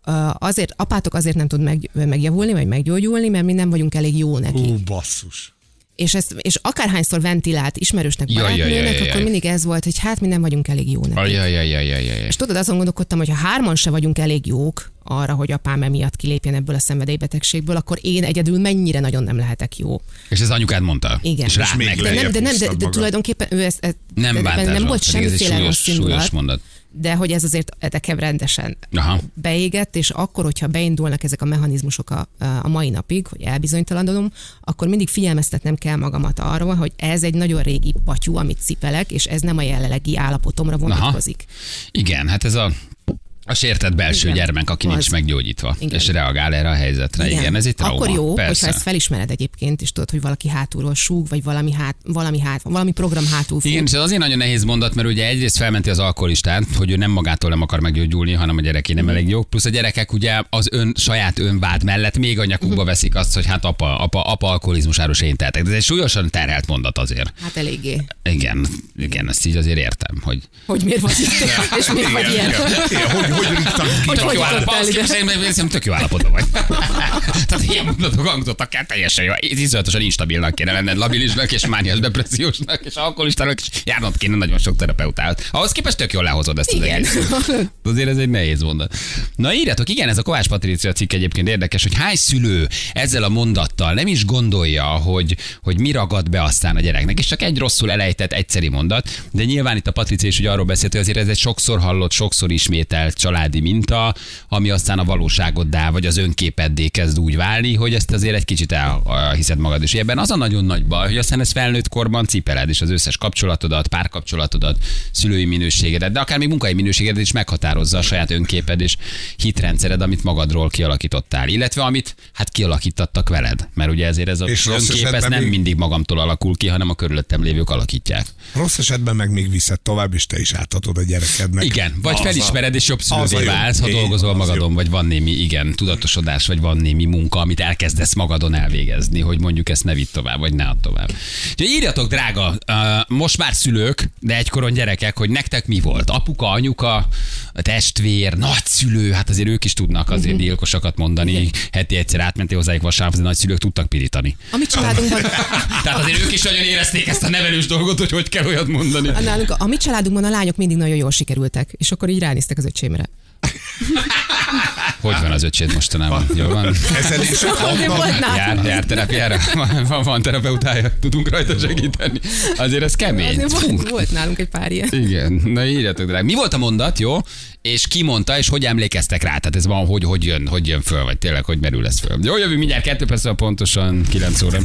[SPEAKER 4] ö, azért, apátok azért nem tud meg, megjavulni, vagy meggyógyulni, mert mi nem vagyunk elég jó neki.
[SPEAKER 3] Ú, basszus.
[SPEAKER 4] És, ezt, és akárhányszor ventilált ismerősnek,
[SPEAKER 2] Jaj, jaj, jaj,
[SPEAKER 4] barátnőnek,
[SPEAKER 2] jaj,
[SPEAKER 4] akkor
[SPEAKER 2] jaj.
[SPEAKER 4] mindig ez volt, hogy hát mi nem vagyunk elég jó neki.
[SPEAKER 2] Ajajajajajajaj.
[SPEAKER 4] És tudod, azon gondolkodtam, hogy ha hárman se vagyunk elég jók arra, hogy apám emiatt kilépjen ebből a szenvedélybetegségből, akkor én egyedül mennyire nagyon nem lehetek jó.
[SPEAKER 2] És ez anyukád mondta.
[SPEAKER 4] Igen.
[SPEAKER 2] És rád
[SPEAKER 3] És még
[SPEAKER 2] meg.
[SPEAKER 4] De
[SPEAKER 3] Lejjebb
[SPEAKER 4] nem, de nem, de,
[SPEAKER 3] húztad
[SPEAKER 4] de
[SPEAKER 3] magad.
[SPEAKER 4] tulajdonképpen ő ezt, ezt
[SPEAKER 2] Nem
[SPEAKER 4] ebben
[SPEAKER 2] bántás
[SPEAKER 4] nem volt
[SPEAKER 2] pedig ez egy
[SPEAKER 4] semmiféle
[SPEAKER 2] súlyos,
[SPEAKER 4] rossz
[SPEAKER 2] súlyos
[SPEAKER 4] indulat,
[SPEAKER 2] mondat.
[SPEAKER 4] de hogy ez azért nekem rendesen
[SPEAKER 2] Aha.
[SPEAKER 4] beégett, és akkor, hogyha beindulnak ezek a mechanizmusok a, a mai napig, hogy elbizonytalanodom, akkor mindig figyelmeztetnem kell magamat arról, hogy ez egy nagyon régi patyú, amit cipelek, és ez nem a jelenlegi állapotomra vonatkozik.
[SPEAKER 2] Igen, hát ez a a sértett belső
[SPEAKER 4] Igen.
[SPEAKER 2] igen. gyermek, aki
[SPEAKER 4] Az.
[SPEAKER 2] nincs meggyógyítva,
[SPEAKER 4] Igen.
[SPEAKER 2] igen. és reagál erre a helyzetre. Igen, ez egy trauma.
[SPEAKER 4] Akkor jó,
[SPEAKER 2] Persze.
[SPEAKER 4] hogyha ezt felismered egyébként, és tudod, hogy valaki hátulról súg, vagy valami, hát, valami, hát, valami program hátul fut.
[SPEAKER 2] Igen, és ez azért nagyon nehéz mondat, mert ugye egyrészt felmenti az alkoholistát, hogy ő nem magától nem akar meggyógyulni, hanem a gyereké nem elég jó. Plusz a gyerekek ugye az ön saját önvád mellett még a
[SPEAKER 4] Mhm.
[SPEAKER 2] nyakukba veszik azt, hogy hát apa, apa, apa alkoholizmusáról se én tehetek. De ez egy súlyosan terhelt mondat azért.
[SPEAKER 4] Hát eléggé.
[SPEAKER 2] Igen, igen, ezt így azért értem, hogy
[SPEAKER 4] Hogy miért vagy itt, és miért vagy ilyen.
[SPEAKER 3] Igen, hogy, hogy rúgtam ki
[SPEAKER 4] Hogy
[SPEAKER 2] Tök
[SPEAKER 4] hogy
[SPEAKER 2] jó
[SPEAKER 4] jutottál
[SPEAKER 2] állapot,
[SPEAKER 4] ide?
[SPEAKER 2] szerintem, szerintem tök jó állapotban vagy. Tehát ilyen mondatok hangzottak el teljesen jó. Ez Iszonyatosan instabilnak kéne lenned, labilisnak és mániás depressziósnak és alkoholistának, és járnod kéne nagyon sok terapeutát. Ahhoz képest tök jól lehozod ezt az
[SPEAKER 4] Igen.
[SPEAKER 2] egészet. Azért ez egy nehéz mondat. Na írjatok, igen, ez a Kovács Patricia cikk egyébként érdekes, hogy hány szülő ezzel a mondattal nem is gondolja, hogy, hogy mi ragad be aztán a gyereknek, és csak egy rosszul elejtett egyszeri mondat, de nyilván itt a Patricia is ugye arról beszélt, hogy azért ez egy sokszor hallott, sokszor ismételt családi minta, ami aztán a valóságoddá, vagy az önképeddé kezd úgy válni, hogy ezt azért egy kicsit elhiszed magad is. Ebben az a nagyon nagy baj, hogy aztán ez felnőtt korban cipeled, és az összes kapcsolatodat, párkapcsolatodat, szülői minőségedet, de akár még munkai minőségedet is meghatározza a saját önképed és hitrendszered, amit magadról kialakítottál, illetve amit hát kialakítattak veled. Mert ugye ezért ez a
[SPEAKER 3] És rossz
[SPEAKER 2] önkép ez
[SPEAKER 3] esetben
[SPEAKER 2] nem
[SPEAKER 3] még-
[SPEAKER 2] mindig magamtól alakul ki, hanem a körülöttem lévők alakítják.
[SPEAKER 3] Rossz esetben meg még viszed tovább, és te is átadod a gyerekednek.
[SPEAKER 2] Igen, vagy
[SPEAKER 3] Az a-
[SPEAKER 2] felismered, és jobb
[SPEAKER 3] az a
[SPEAKER 2] szülővé
[SPEAKER 3] jó.
[SPEAKER 2] válsz, ha
[SPEAKER 3] Így
[SPEAKER 2] dolgozol
[SPEAKER 3] van, az
[SPEAKER 2] magadon,
[SPEAKER 3] jó.
[SPEAKER 2] vagy van némi, igen, tudatosodás, vagy van némi munka, amit elkezdesz magadon elvégezni, hogy mondjuk ezt ne vidd tovább, vagy ne add tovább. Úgyhogy írjatok, drága, uh, most már szülők, de egykoron gyerekek, hogy nektek mi volt? Apuka, anyuka, testvér, nagyszülő, hát azért ők is tudnak azért gyilkosakat mondani, heti egyszer átmentél hozzájuk vasárnap, de nagyszülők tudtak pirítani.
[SPEAKER 4] A mi családunkban,
[SPEAKER 2] Tehát azért ők is nagyon érezték ezt a nevelős dolgot, hogy hogy kell olyat mondani.
[SPEAKER 4] a, nálunk, a mi családunkban a lányok mindig nagyon jól sikerültek, és akkor így ránéztek az öcsémre.
[SPEAKER 2] Hogy van az öcséd mostanában? Jól van?
[SPEAKER 3] Ezen is
[SPEAKER 4] Hogy volt nálam?
[SPEAKER 2] Jár, jár terápiára? Van, van, van terapeutája? Tudunk rajta segíteni? Azért ez kemény.
[SPEAKER 4] Azért
[SPEAKER 2] Fú.
[SPEAKER 4] volt, volt nálunk egy pár ilyen.
[SPEAKER 2] Igen, na írjatok drága. Mi volt a mondat, jó? És ki mondta, és hogy emlékeztek rá? Tehát ez van, hogy, hogy jön, hogy jön föl, vagy tényleg, hogy merül ez föl. Jó, jövő mindjárt kettő perc, múlva pontosan 9 óra.